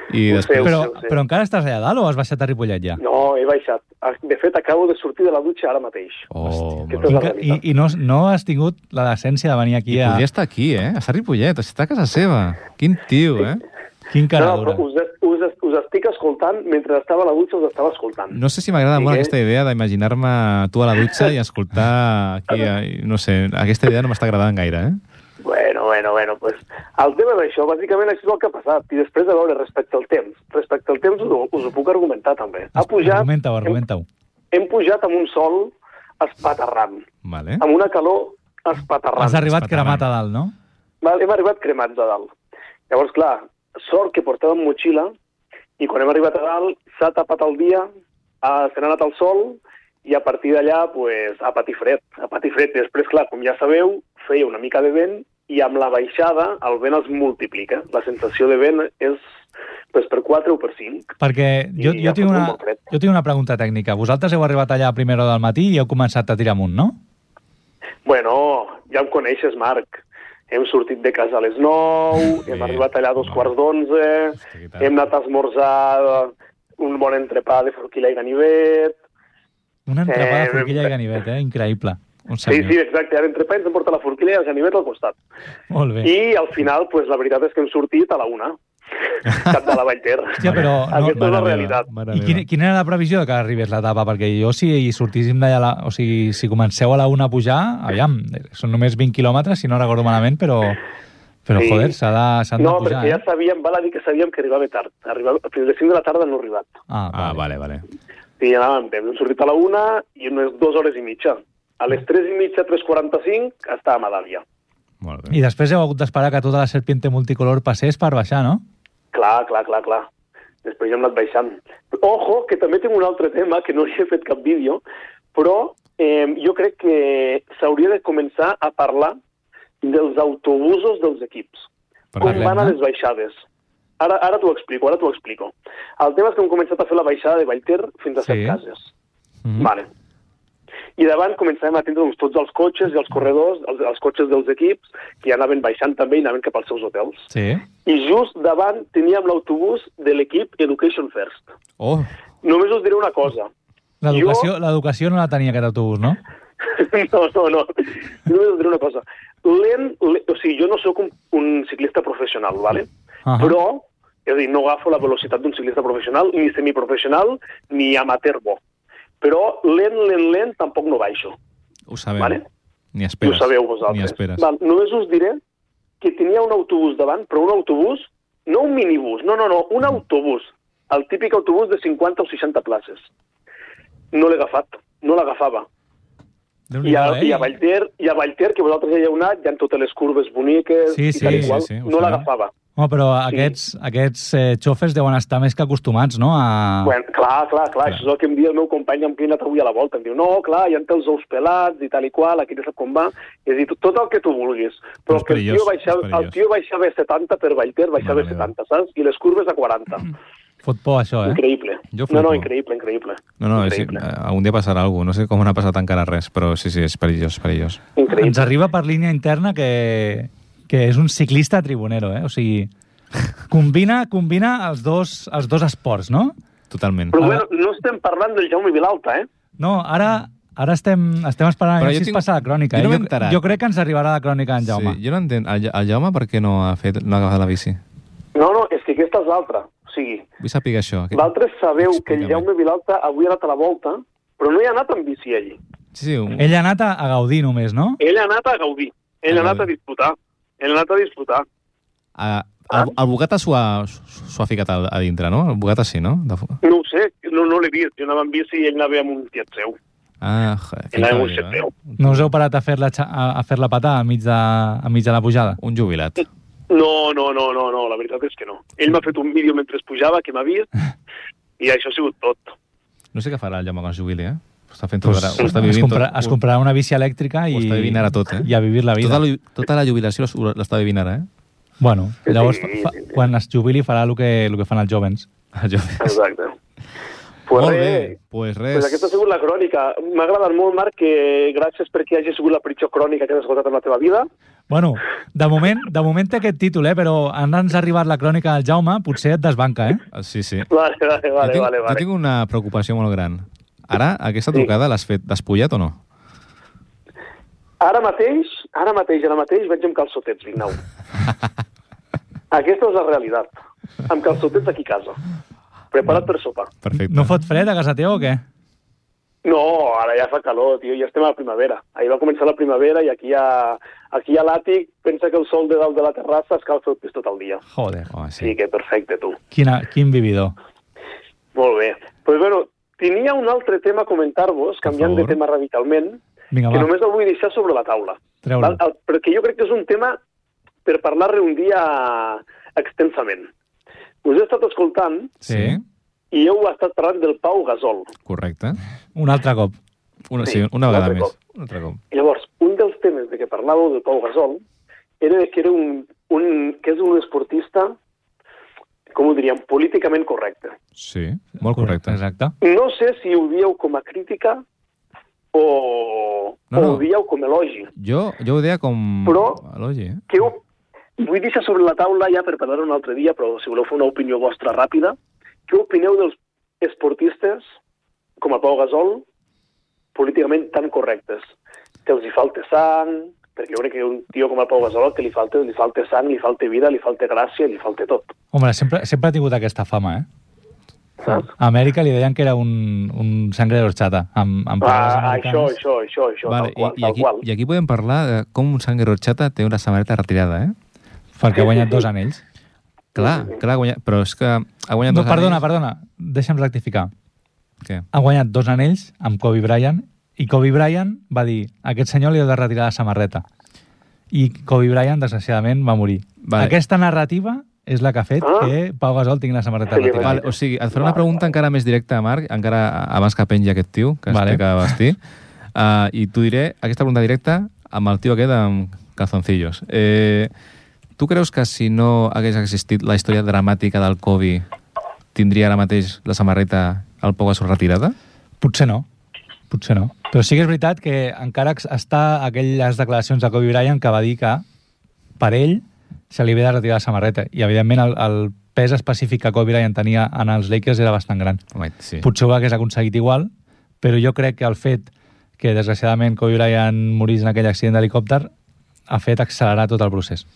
B: i
F: Ho sé,
B: després...
F: ho
A: Però,
F: sé, ho sé.
A: però encara estàs allà dalt o has baixat a Ripollet ja?
F: No, he baixat. Ah, De fet, acabo de sortir de la dutxa ara mateix.
B: Oh,
F: Hòstia,
B: molt
F: que tota
B: bé.
F: tot-
A: I, que- i, i no, no has tingut la decència de venir aquí
B: I
A: a...
B: podria estar aquí, eh? Està a Ripollet, està a casa seva. Quin tio, eh?
A: Quin cara
F: no,
A: dura.
F: però us, us, us estic escoltant, mentre estava a la dutxa us estava escoltant.
B: No sé si m'agrada
F: Sí,
B: molt
F: eh?
B: aquesta idea d'imaginar-me tu a la dutxa i escoltar aquí, eh? no sé, aquesta idea no m'està agradant gaire, eh?
F: Bueno, bueno, bueno, pues, el tema d'això, bàsicament això és el que ha passat. I després, a veure, respecte al temps, respecte al temps us ho, us ho puc argumentar també. Ha pujat,
A: Argumenta-ho, argumenta-ho.
F: Hem, hem pujat amb un sol espaterrant,
B: Vale.
F: amb una calor espaterrant.
A: Has arribat
B: espaterrant.
A: cremat a dalt, no?
F: Val, hem arribat cremats a dalt. Llavors, clar, sort que portàvem motxilla i quan hem arribat a dalt s'ha tapat el dia, eh, se n'ha anat el sol i a partir d'allà pues, a patir fred. A patir fred. I després, clar, com ja sabeu, feia una mica de vent i amb la baixada el vent es multiplica. La sensació de vent és pues, per 4 o per 5.
A: Perquè jo,
F: I
A: jo,
F: ha
A: tinc
F: fet un
A: una,
F: bon fred.
A: jo tinc una pregunta tècnica. Vosaltres heu arribat allà a primera hora del matí i heu començat a tirar amunt, no?
F: Bueno, ja em coneixes, Marc. Hem sortit de casa a les 9, hem
B: Sí.
F: arribat allà a dos quarts d'onze,
B: Hosti, que tard.
F: hem anat a esmorzar eh, un bon entrepà de forquilla i ganivet...
A: Una entrepà
F: Eh,
A: de forquilla i ganivet, eh? Increïble. Un
F: Sí,
A: senyor.
F: sí, exacte, ara entrepà ens hem portat la forquilla i el ganivet al costat.
A: Molt bé.
F: I al final, pues, la veritat és que hem sortit a la una,
A: *laughs*
F: cap de la Vallter.
A: Hòstia, però no-
F: Aquesta és tota
B: Mare
F: la
B: meva,
F: realitat.
B: mare
A: I
B: meva.
A: quina, quina era la previsió de que arribés l'etapa? Perquè jo, si hi sortíssim d'allà, a la- o sigui, si comenceu a la una a pujar, aviam, són només 20 quilòmetres, si no recordo malament, però, però
F: Sí.
A: joder, s'ha de, s'han
F: No,
A: de pujar.
F: perquè ja
A: eh?
F: sabíem, val a dir que sabíem que arribava tard. Arribava, fins a les 5 de la tarda no ha arribat.
A: Ah,
B: Ah, vale, vale.
F: Sí, anàvem bé. Hem sortit a la una i unes dues hores i mitja. A les tres i mitja, 3.45, estàvem a Dàlia.
B: Molt
A: I
B: bé.
A: després heu hagut d'esperar que tota la serpiente multicolor passés per baixar, no?
F: Clar, clar, clar, clar. Després ja hem anat baixant. Ojo, que també tinc un altre tema, que no hi he fet cap vídeo, però eh, jo crec que s'hauria de començar a parlar dels autobusos dels equips. Com
B: Parlem-ne.
F: van a les baixades. Ara, ara t'ho explico, ara t'ho explico. El tema és que hem començat a fer la baixada de Vallter fins a
A: Sí.
F: set cases. Vale. I davant començàvem a tindre doncs, tots els cotxes i els corredors, els, els cotxes dels equips, que ja anaven baixant també i anaven cap als seus hotels.
A: Sí.
F: I just davant teníem l'autobús de l'equip Education First.
B: Oh,
F: Només us diré una cosa. *laughs*
A: L'educació l'educació no la tenia aquest autobús, no?
F: No, no, no. Només us diré una cosa. Lent, lent o sigui, jo no sóc un, un ciclista professional, ¿vale?
A: Ahà.
F: però és a dir, no agafo la velocitat d'un ciclista professional, ni semiprofessional, ni amateur bo. Però lent, lent, lent, tampoc no baixo.
B: ho sabem.
F: Vale.
B: Ni esperes.
F: I ho sabeu vosaltres.
B: Ni esperes.
F: Val, només us diré que tenia un autobús davant, però un autobús, no un minibús, no, no, no,
B: Mm.
F: un autobús, el típic autobús de 50 o 60 places. No l'he agafat, no l'agafava. I, a,
A: Déu-n'hi-do, eh?
F: I a Vallter, i a Vallter, que vosaltres ja hi heu anat, hi ha totes les curves boniques,
A: Sí,
F: i
A: sí,
F: tal i qual,
B: sí, sí, ho
F: no
B: sabem.
F: l'agafava.
A: Home, però aquests, aquests eh, xofes deuen estar més que acostumats, no? A...
B: Ah.
F: Bueno, clar, clar, clar, això és el que em diu el meu company amb qui he anat avui a la volta. Em diu, no, clar, ja en té els ous pelats i tal i qual, aquí no sap com va. És a dir, tot el que tu vulguis.
B: Però
F: Però
B: és
F: que el
B: perillós,
F: tio, baixava,
B: és perillós.
F: el tio baixava a 70 per Vallter, baixava
B: Mare
F: a
B: meva. Eh?
F: 70, saps? I les curves a 40.
A: Fot por, això, eh?
F: Increïble.
B: Jo
F: no,
B: flipo.
F: no, increïble, increïble.
B: No, no, és,
F: increïble.
B: eh, algun dia passarà alguna cosa. No sé com n'ha passat encara res, però sí, sí, és perillós, perillós.
F: increïble.
A: Ens arriba per línia interna que, que és un ciclista tribunero, eh? O sigui, combina, combina els, dos, els dos esports, no?
B: totalment.
F: Però
A: Ara-
F: bueno, no estem parlant del Jaume Vilalta, eh?
A: No, ara, ara estem, estem esperant
B: Però
A: a veure si
B: jo tinc-
A: tinc... passa la crònica.
B: jo no
A: eh?
B: m'he enterat.
A: jo crec que ens arribarà la crònica en Jaume.
B: Sí, jo no entenc. El, el Jaume per què no ha fet no ha agafat la bici?
F: No, no, és que aquesta és l'altra. O sigui,
B: Vull saber això. Que...
F: L'altre sabeu que el
B: Explica'm.
F: Jaume Vilalta avui ha anat a la volta, però no hi ha anat amb bici ell.
B: Sí, sí, un...
A: Ell ha anat a, a gaudir només, no?
F: Ell ha anat a gaudir, ell
B: A
F: ha anat a
B: gaudir.
F: disputar, ell ha anat a disputar.
B: a,
F: Ah.
B: el, el bocata s'ho ha, s'ho ha ficat a, a dintre, no? El bocata sí, no? De... fu-
F: No ho sé, no, no l'he vist, jo anava amb bici i ell anava amb un tiet seu.
B: Ah, joder, que
F: Ell anava amb un
B: increïble,
F: set
B: eh?
F: seu.
A: No us heu parat a fer la, xa- a, a fer la patada enmig de, enmig de la pujada?
B: Un jubilat.
F: No, no, no, no, no, la veritat és que no. Ell m'ha fet un vídeo mentre es pujava, que m'ha
B: *laughs*
F: vist, i això ha sigut tot.
B: No sé què farà el Jaume quan es jubili, eh? Ho està fent tot
A: Pues,
B: ara. Ho està
A: es,
B: vivint
A: compra,
B: tot.
A: es comprarà una bici elèctrica i,
B: Ho està vivint ara tot, eh?
A: i a vivir la vida.
B: Tota, la, tota la jubilació l'es- l'està vivint ara, eh? *laughs*
A: Bueno, llavors,
F: Sí, sí,
A: fa,
F: sí.
A: quan es jubili farà el que, el que fan els jovens.
B: El *laughs* jove.
F: Exacte. Pues
B: Molt
F: res,
B: bé, pues res.
F: Pues aquesta ha sigut la crònica. M'ha agradat molt, Marc, que gràcies perquè hagi sigut la pitjor crònica que has escoltat en la teva vida. *laughs*
A: Bueno, de moment, de moment té aquest títol, eh? però ara ens ha arribat la crònica del Jaume, potser et desbanca, eh?
B: Ah, Sí, sí.
F: Vale, vale,
B: jo,
F: vale,
B: tinc,
F: vale,
B: jo
F: vale.
B: tinc una preocupació molt gran. Ara, aquesta trucada l'has fet despullat o no?
F: Ara mateix, ara mateix, ara mateix veig amb calçotets,
B: *laughs*
F: Vignau. Aquesta és la realitat. Amb calçotets aquí a casa. Preparat per sopar.
B: Perfecte.
A: No fot fred a casa teva o què?
F: No, ara ja fa calor, tio, ja estem a la primavera. Ahir va començar la primavera i aquí a, aquí a l'àtic pensa que el sol de dalt de la terrassa es calça el pis tot el dia.
A: Joder,
B: Home,
F: Sí,
B: sí.
F: que perfecte, tu.
A: quina, quin vividor.
F: Molt bé. Pues bueno, tenia un altre tema a comentar-vos, canviant de
B: favor.
F: tema radicalment,
A: Vinga,
F: que
A: va,
F: només el vull deixar sobre la taula. Val?
A: treure'l.
F: El, perquè jo crec que és un tema per parlar-ne un dia extensament. Us he estat escoltant
B: Sí,
F: i heu estat parlant del Pau Gasol.
B: correcte.
A: Un altre cop.
B: Una,
F: Sí,
B: sí, una
F: un
B: vegada
F: altre
B: més.
F: cop.
B: Un altre cop.
F: Llavors, un dels temes de què parlàveu del Pau Gasol era que, era un, un, que és un esportista, com ho diríem, políticament correcte.
B: Sí, molt correcte.
A: Exacte.
F: No sé si ho dieu com a crítica o,
B: No,
F: no, no.
B: no.
F: o ho dieu com a elogi.
B: Jo, jo ho deia com...
F: Però-
B: Elogi, eh?
F: que ho vull deixar sobre la taula ja per parlar un altre dia, però si voleu fer una opinió vostra ràpida, què opineu dels esportistes com el Pau Gasol, políticament tan correctes? Que els hi falta sang, perquè jo crec que un tio com el Pau Gasol el que li falta, li falta sang, li falta vida, li falta gràcia, li falta tot.
A: Home, sempre, sempre ha tingut aquesta fama, eh?
F: Saps?
A: A Amèrica li deien que era un, un sangre d'orxata, amb, amb paraules
F: Ah, això,
A: americanes.
F: això, això, això,
B: Vale,
F: tal qual,
B: i, i,
F: tal
B: aquí,
F: qual.
B: I aquí podem parlar de com un sangre horchata té una samarreta retirada, eh?
A: Perquè ha guanyat dos
B: *laughs*
A: anells.
B: Clar, clar, ha guanyat, però és que ha guanyat...
A: No,
B: dos
A: perdona,
B: anells.
A: perdona, deixa'm rectificar.
B: Què?
A: Ha guanyat dos anells amb Kobe Bryant i Kobe Bryant va dir aquest senyor li heu de retirar la samarreta. I Kobe Bryant, desgraciadament, va morir.
B: Vale.
A: Aquesta narrativa és la que ha fet
F: Ah.
A: que Pau Gasol tingui la samarreta
F: Sí, li
A: retirada.
B: Vale, o sigui, et faré una pregunta encara més directa, Marc, encara abans que pengi aquest tio que
A: Vale.
B: explica Bastí. Uh, I t'ho diré, aquesta pregunta directa, amb el tio aquest amb calzoncillos. Eh, tu creus que si no hagués existit la història dramàtica del Kobe, tindria ara mateix la samarreta al poc a sur retirada?
A: Potser no. Potser no. Però sí que és veritat que encara ex- està aquelles declaracions de Kobe Bryant que va dir que per ell se li ve de retirar la samarreta. I, evidentment, el, el pes específic que Kobe Bryant tenia en els Lakers era bastant gran.
B: Home, sí.
A: Potser ho hagués aconseguit igual, però jo crec que el fet que, desgraciadament, Kobe Bryant morís en aquell accident d'helicòpter ha fet accelerar tot el procés.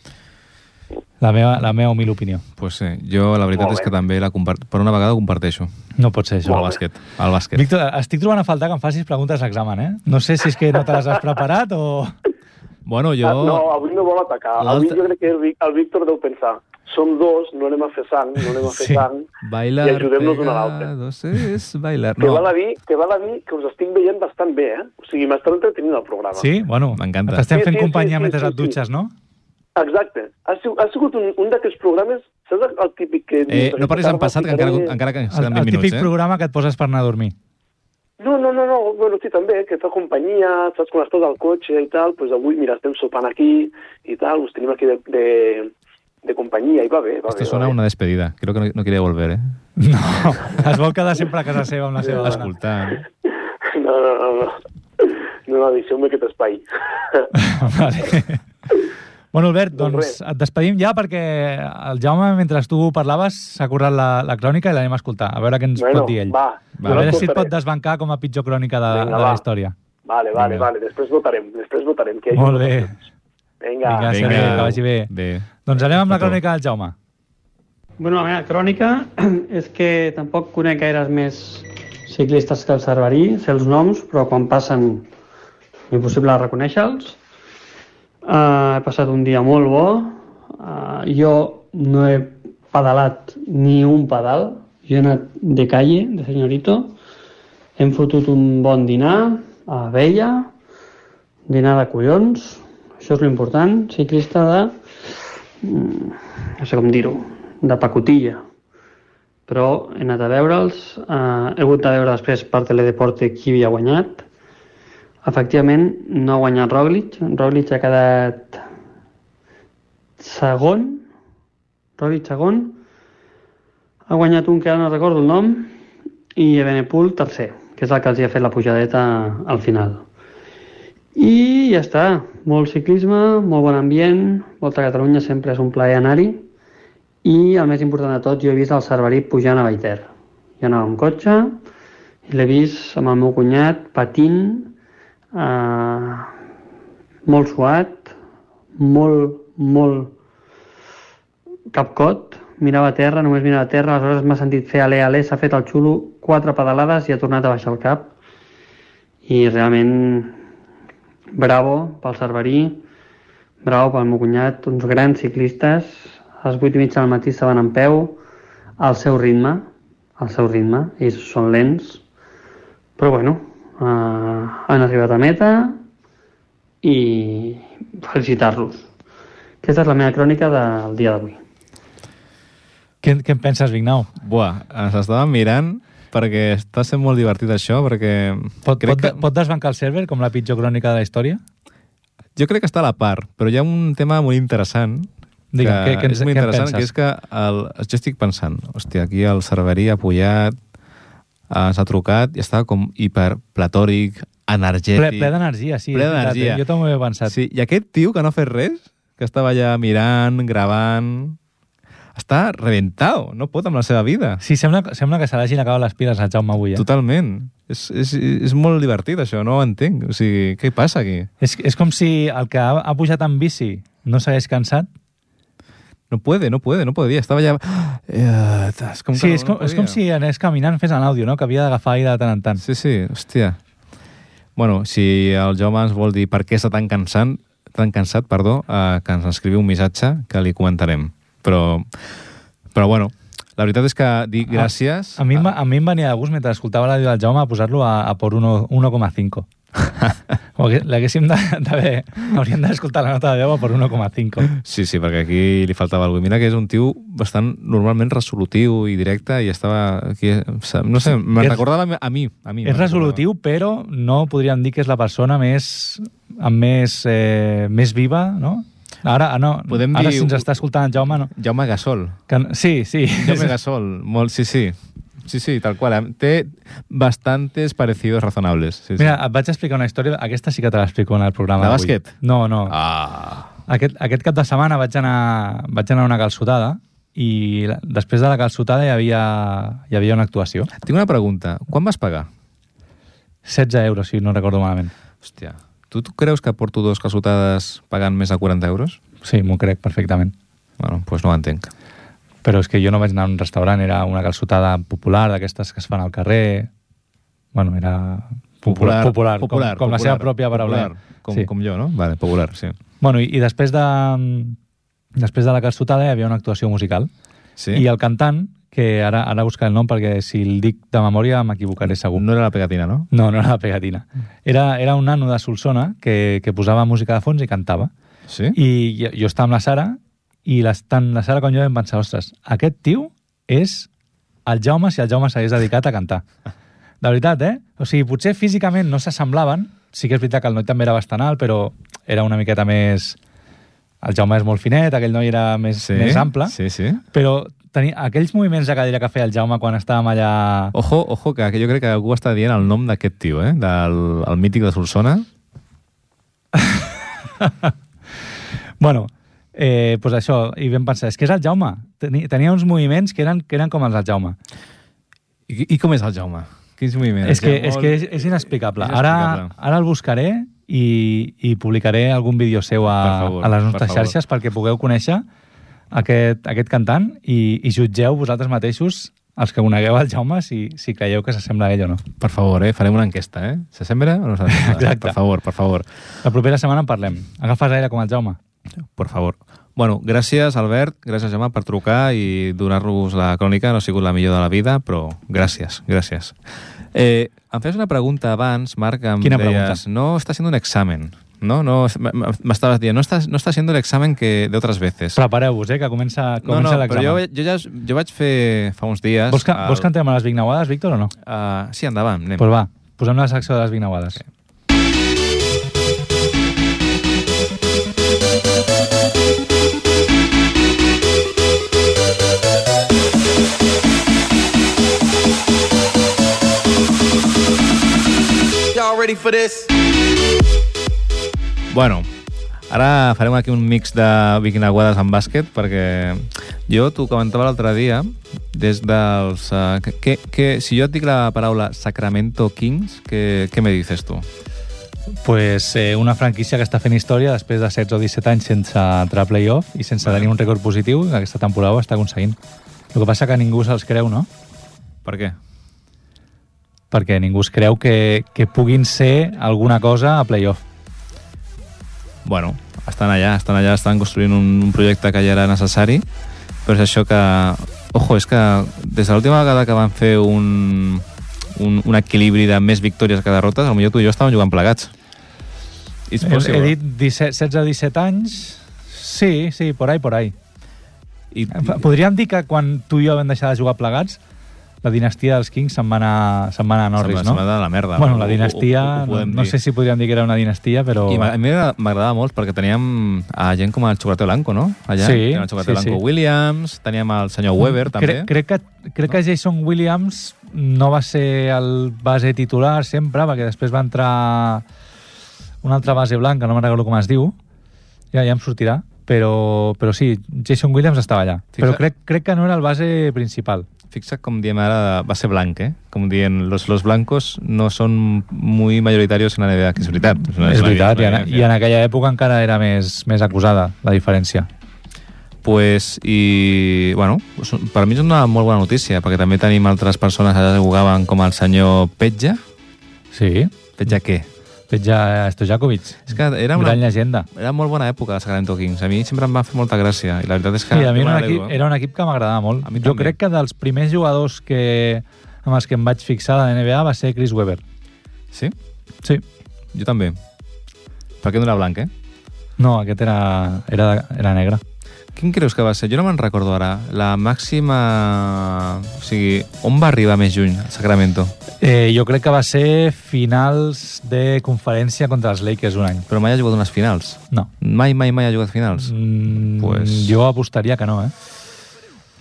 A: La meva, la meva humil opinió.
B: Pues sí, jo la veritat
F: Molt
B: és que
F: bé.
B: també la compart... per una vegada ho comparteixo.
A: No pot ser això.
B: Al bàsquet. Al bàsquet.
A: Víctor, estic trobant a faltar que em facis preguntes a l'examen, eh? No sé si és que no te les has preparat
B: *laughs*
A: o...
B: Bueno,
F: Ah, no,
B: jo...
F: avui no vol atacar. Avui
B: L'altre-
F: jo crec que el, Vic- el Víctor deu pensar som dos, no anem a fer sang, no anem a fer
A: Sí.
F: sang,
B: Bailar,
F: i ajudem-nos un a l'altre.
B: pegados es bailar.
F: Que
B: No.
F: val a dir, que val a dir que us estic veient bastant bé, eh? O sigui, m'està entretenint el programa.
A: Sí? Bueno,
B: M'encanta.
A: T'estem
F: Sí,
A: fent
F: sí,
A: companyia
F: sí, sí,
A: mentre
F: sí,
A: et
F: sí.
A: dutxes, no?
F: Exacte. Ha sigut, ha sigut un, un d'aquests programes, saps el típic que...
B: Eh, no parlis en passat, que encara, encara que ens
A: El,
B: queden 20
A: el
B: minuts,
A: típic
B: eh?
A: programa que et poses per anar a dormir. *laughs*
F: No, no, no, no, bueno, sí, també, que et fa companyia, saps, quan estàs al cotxe i tal, doncs avui, mira, estem sopant aquí i tal, us tenim aquí de, de, de companyia, i va bé, va
B: Esto
F: bé. va
B: suena a
F: bé.
B: una despedida. Creo que no, no quería volver, ¿eh?
A: No, es vol quedar sempre a casa seva amb la seva dona.
B: Escoltar.
F: *laughs* No, no,
A: *laughs*
F: no, no. No, no, deixeu-me aquest espai.
A: vale. Bueno, Albert,
F: Doncs
A: doncs
F: res.
A: et despedim ja perquè el Jaume, mentre tu parlaves, s'ha currat la, la crònica i l'anem a escoltar, a veure què ens pot dir ell.
F: va.
A: a
B: jo
A: veure si et
F: l'escoltaré.
A: pot desbancar com a pitjor crònica de,
F: Vinga,
A: de la
F: va.
A: història.
F: Vale, vale,
B: Vinga.
F: vale. Després votarem, després votarem. Que hi hagi
A: Molt bé.
F: votacions. Vinga.
A: Vinga,
F: Vinga.
A: Vinga. que vagi bé.
B: Adéu.
A: Doncs anem amb la
B: Vinga.
A: crònica del Jaume.
G: Bueno, la meva crònica *clears throat* és que tampoc conec gaires més ciclistes que el Cerverí, sé els noms, però quan passen impossible reconèixer-los. Uh, he passat un dia molt bo. Uh, jo no he pedalat ni un pedal. Jo he anat de calle, de senyorito. Hem fotut un bon dinar a Vella, dinar de collons. Això és l'important, ciclista de no sé com dir-ho, de pacotilla. Però he anat a veure'ls, eh, he hagut de veure després per Teledeporte qui havia guanyat. Efectivament, no ha guanyat Roglic. Roglic ha quedat segon. Roglic segon. Ha guanyat un que ara no recordo el nom i Ebenepul tercer, que és el que els hi ha fet la pujadeta al final. I ja està, molt ciclisme, molt bon ambient, Volta a Catalunya sempre és un plaer anar-hi i el més important de tot, jo he vist el Cerverí pujant a Baiter. Jo anava amb cotxe i l'he vist amb el meu cunyat patint, eh, molt suat, molt, molt capcot, mirava a terra, només mirava a terra, aleshores m'ha sentit fer alè, alè, s'ha fet el xulo, quatre pedalades i ha tornat a baixar el cap. I realment Bravo pel Cerverí, bravo pel meu cunyat, uns grans ciclistes. A les 8 i mitja del matí estaven en peu, al seu ritme, al seu ritme, ells són lents, però bueno, eh, han arribat a meta i felicitar-los. Aquesta és la meva crònica del dia d'avui.
A: Què, què en penses, Vignau?
B: Buah, ens estàvem mirant perquè està sent molt divertit això, perquè...
A: Pot, pot,
B: que,
A: pot desbancar el server com la pitjor crònica de la història?
B: Jo crec que està a la part, però hi ha un tema molt interessant
A: Digue'm,
B: que,
A: què- què ens-
B: és molt
A: què en
B: interessant,
A: penses?
B: que és que el, jo estic pensant, hòstia, aquí el Cerverí ha pujat, eh, s'ha trucat i està com hiperplatòric, energètic...
A: Ple, ple d'energia, sí.
B: Ple
A: és veritat,
B: d'energia.
A: eh? Jo també ho he pensat.
B: Sí, I aquest tio que no ha fet res, que estava allà mirant, gravant... Està reventado, no pot amb la seva vida.
A: Sí, sembla, sembla que se l'hagin acabat les piles al Jaume avui. Eh?
B: Totalment. És, és, és molt divertit, això, no ho entenc. O sigui, què passa aquí?
A: És, és com si el que ha, ha pujat en bici no s'hagués cansat.
B: No puede, no puede, no podria. Estava allà... Eh, és com, que
A: sí,
B: no,
A: és com,
B: no
A: és com
B: podia.
A: si anés caminant fes en àudio, no? que havia d'agafar aire de tant en tant.
B: Sí, sí, hòstia. Bueno, si el Jaume ens vol dir per què està tan cansant, tan cansat, perdó, eh, que ens escriviu un missatge que li comentarem. Però, però bueno, la veritat és que dir gràcies...
A: Ah, A mi, em va- a mi em venia de gust, mentre escoltava l'àudio del Jaume, a posar-lo a, a por uno-
B: *laughs*
A: 1,5. O que L'haguéssim de- d'haver... Hauríem d'escoltar la nota de veu a por 1,5.
B: Sí, sí, perquè aquí li faltava alguna cosa. Mira que és un tio bastant normalment resolutiu i directe i estava aquí... No sé, me'n
A: És-
B: recordava a mi- a mi. A mi
A: És
B: me'n
A: resolutiu, però no podríem dir que és la persona més, amb més, eh, més viva, no? Ara, ah, no,
B: Podem
A: ara
B: dir-
A: si ens està escoltant el Jaume... No,
B: recordava. Jaume Gasol.
A: que, no- sí, sí. *laughs*
B: Jaume Gasol, molt, sí, sí. Sí, sí, tal qual. Té bastantes parecidos razonables. Sí, sí.
A: Mira, et vaig explicar una història, aquesta sí que te l'explico en el programa
B: De
A: d'avui.
B: bàsquet?
A: No, no. Ah.
B: Ah,
A: Aquest, aquest cap de setmana vaig anar, vaig anar a una calçotada i la, després de la calçotada hi havia, hi havia una actuació.
B: tinc una pregunta. Quan vas pagar?
A: 16 euros, si no recordo malament.
B: Hòstia, tu, tu creus que porto dos calçotades pagant més de 40 euros?
A: Sí, m'ho crec perfectament.
B: Bueno, doncs pues no ho entenc.
A: Però és que jo no vaig anar a un restaurant, era una calçotada popular, d'aquestes que es fan al carrer... Bueno, era popular, popular,
B: popular
A: com, com la
B: popular,
A: seva pròpia paraula.
B: Popular, com, sí. com jo, no? Vale, popular, sí.
A: Bueno, i, i després, de, després de la calçotada hi havia una actuació musical.
B: sí.
A: I el cantant, que ara, ara buscar el nom perquè si el dic de memòria m'equivocaré segur.
B: No era la pegatina, no?
A: No, no era la pegatina. Era, era un nano de Solsona que, que posava música de fons i cantava.
B: Sí?
A: I jo, jo estava amb la Sara i les, tant la Sara com jo vam pensar, ostres, aquest tio és el Jaume si el Jaume s'hagués dedicat a cantar. De veritat, eh? O sigui, potser físicament no s'assemblaven, sí que és veritat que el noi també era bastant alt, però era una miqueta més... El Jaume és molt finet, aquell noi era més,
B: sí.
A: més ample.
B: Sí, sí.
A: Però tenia aquells moviments de cadira que feia el Jaume quan estàvem allà...
B: Ojo, ojo, que jo crec que algú està dient el nom d'aquest tio, eh? Del el mític de Solsona.
A: Bueno, Eh, pues això, i vam pensar, és que és el Jaume. Teni- Tenia uns moviments que eren, que eren com els del Jaume.
B: I, I com és el Jaume? Quins moviments?
A: És que,
B: Hi ha
A: és,
B: molt-
A: que és, és inexplicable.
B: És
A: Ara,
B: inexplicable.
A: ara el buscaré i, i publicaré algun vídeo seu a,
B: Per favor,
A: a les
B: per
A: nostres
B: favor.
A: xarxes perquè pugueu conèixer aquest, aquest cantant i, i jutgeu vosaltres mateixos els que conegueu el Jaume si, si creieu que s'assembla a ell o no.
B: Per favor, eh? farem una enquesta, eh? S'assembla o no s'assembla?
A: Exacte.
B: Per favor, per favor.
A: La propera setmana en parlem. Agafes aire com el Jaume.
B: Per favor. Bueno, gràcies, Albert, gràcies, Gemma, per trucar i donar-nos la crònica. No ha sigut la millor de la vida, però gràcies, gràcies. Eh, em fes una pregunta abans, Marc, em
A: Quina
B: deies,
A: pregunta?
B: no està sent un examen, no? no m- m- M'estaves dient, no està, no està sent un examen que de otras veces.
A: Prepareu-vos, eh, que comença, comença
B: no, no, però
A: l'examen.
B: jo, jo, ja, jo vaig fer fa uns dies...
A: Vols que,
B: el-
A: vols que entrem a les Vignauades, Víctor, o no? Doncs
B: Uh, sí, endavant, anem.
A: pues va, posem la secció de les Vignauades.
D: Y'all ready for this?
B: Bueno, ara farem aquí un mix de viquinaguades en bàsquet, perquè jo t'ho comentava l'altre dia, des dels... Uh, que, que, que, si jo et dic la paraula Sacramento Kings, què, què me dices tu?
A: Pues eh, una franquícia que està fent història després de 16 o 17 anys sense entrar a playoff i sense tenir un rècord positiu que aquesta temporada ho està aconseguint. El que passa que ningú se'ls creu, no?
B: Per què?
A: Perquè ningú es creu que, que puguin ser alguna cosa a playoff.
B: Bueno, estan allà, estan allà, estan construint un, un projecte que ja era necessari, però és això que... Ojo, és que des de l'última vegada que van fer un, un, un equilibri de més victòries que derrotes, potser tu i jo estàvem jugant plegats. It's
A: He, he dit 17, 16 o 17 anys... Sí, sí, por ahí, por ahí. Eh,
B: I,
A: Podríem dir que quan tu i jo vam deixar de jugar plegats, la dinastia dels Kings se'n va anar, se'n va anar a Norris,
B: Sembla-
A: no?
B: sembla de la merda.
A: Bueno,
B: Ho-
A: la
B: ho- ho-
A: dinastia,
B: ho
A: no,
B: podem
A: no
B: dir.
A: sé si podríem dir que era una dinastia, però...
B: I m'a- a mi m'agra- m'agradava molt perquè teníem a gent com el Chocolate Blanco, no? Allà,
A: Sí,
B: teníem el Chocolate
A: sí,
B: Blanco
A: sí. Mm,
B: Williams, teníem el senyor Weber, també.
A: Crec, crec, que, crec que Jason Williams no va ser el base titular sempre, perquè després va entrar una altra base blanca, no me'n recordo com es diu, ja, ja em sortirà, però, però sí, Jason Williams estava allà.
B: Fixa-
A: Però crec, crec que no era el base principal.
B: Fixa com diem ara, va ser blanc, eh? Com dient, los, los blancos no són muy mayoritarios en la NBA, que és veritat. una-
A: és
B: una
A: veritat, i en,
B: evidència.
A: i en aquella època encara era més, més acusada la diferència.
B: pues, i, bueno, són- per mi és una molt bona notícia, perquè també tenim altres persones allà que jugaven com el senyor Petja.
A: Sí,
B: Petja què?
A: veig a Stojakovic.
B: És que era
A: Gran
B: una...
A: llegenda.
B: Era molt bona època, la Sacramento Kings. A mi sempre em va fer molta gràcia. I la veritat és que...
A: Sí, a mi
B: jo
A: era un,
B: m'alegro,
A: equip,
B: eh?
A: era un equip que m'agradava molt.
B: A mi
A: jo
B: també.
A: crec que dels primers jugadors que, amb els que em vaig fixar a la NBA va ser Chris Webber.
B: Sí?
A: Sí.
B: Jo també. Perquè no era blanc, eh?
A: No, aquest era, era, era negre.
B: Quin creus que va ser? Jo no me'n recordo ara. La màxima... O sigui, on va arribar més lluny, el Sacramento?
A: Eh, jo crec que va ser finals de conferència contra els Lakers un any.
B: Però mai ha jugat unes finals.
A: No.
B: Mai, mai, mai ha jugat finals. Mm.
A: Mm,
B: Pues-
A: Jo apostaria que no, eh?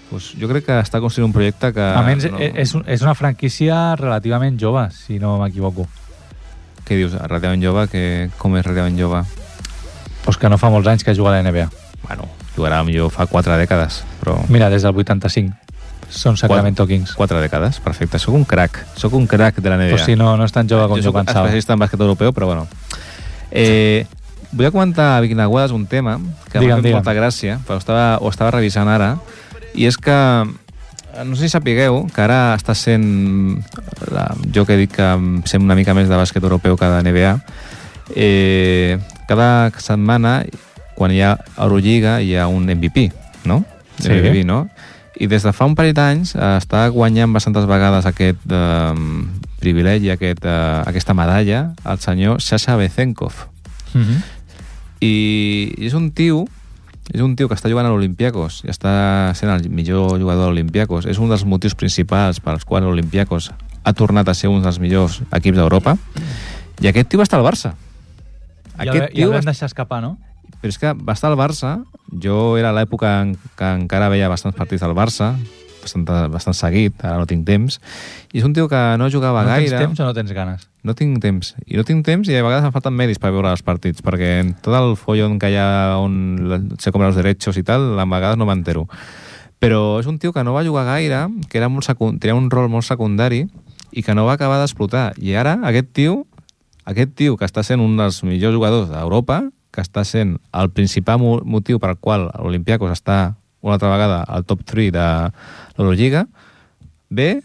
B: Pues jo crec que està construint un projecte que...
A: a més,
B: Ah, no...
A: eh, és, un- és una franquícia relativament jove, si no m'equivoco.
B: Què dius? Relativament jove? Que... Com és relativament jove?
A: Pues que no fa molts anys que juga a la NBA.
B: Bueno, jugarà millor fa quatre dècades, però...
A: Mira, des del 85. Són Sacramento Kings.
B: Quatre dècades, perfecte. Sóc un crac. Sóc un crac de la NBA.
A: O sigui, no, no és tan jove com jo,
B: soc
A: pensava.
B: Ah, especialista en bàsquet europeu, però bueno. Eh, volia comentar a Viquinaguades un tema que
A: Digue'm,
B: m'ha fet
A: digue'm.
B: molta gràcia, però ho estava, ho estava revisant ara, i és que eh, no sé si sapigueu que ara està sent la, jo que dic que em sent una mica més de bàsquet europeu que de NBA eh, cada setmana quan hi ha Eurolliga hi ha un MVP no?
A: Sí.
B: MVP, no? i des de fa un parell d'anys eh, està guanyant bastantes vegades aquest eh, privilegi, aquest, eh, aquesta medalla el senyor Sasha Bezenkov
A: Mm -hmm.
B: i és un tio és un tio que està jugant a l'Olimpiakos i està sent el millor jugador de l'Olimpiakos és un dels motius principals pels quals l'Olimpiakos ha tornat a ser un dels millors equips d'Europa i aquest tio va estar al Barça
A: Aquest ja, ja el vam deixar escapar, no?
B: però és que va estar al Barça, jo era l'època en què encara veia bastants partits al Barça, bastant, bastant seguit, ara no tinc temps, i és un tio que no jugava
A: no
B: gaire...
A: tens temps o no tens ganes?
B: No tinc temps. I no tinc temps i a vegades em falten medis per veure els partits, perquè en tot el follon que hi ha on la- se compren els derechos i tal, a vegades no m'entero. Però és un tio que no va jugar gaire, que era molt secund... tenia un rol molt secundari i que no va acabar d'explotar. I ara aquest tio, aquest tio que està sent un dels millors jugadors d'Europa, que està sent el principal mo- motiu per al qual l'Olimpiakos està una altra vegada al top 3 de l'Eurolliga, ve...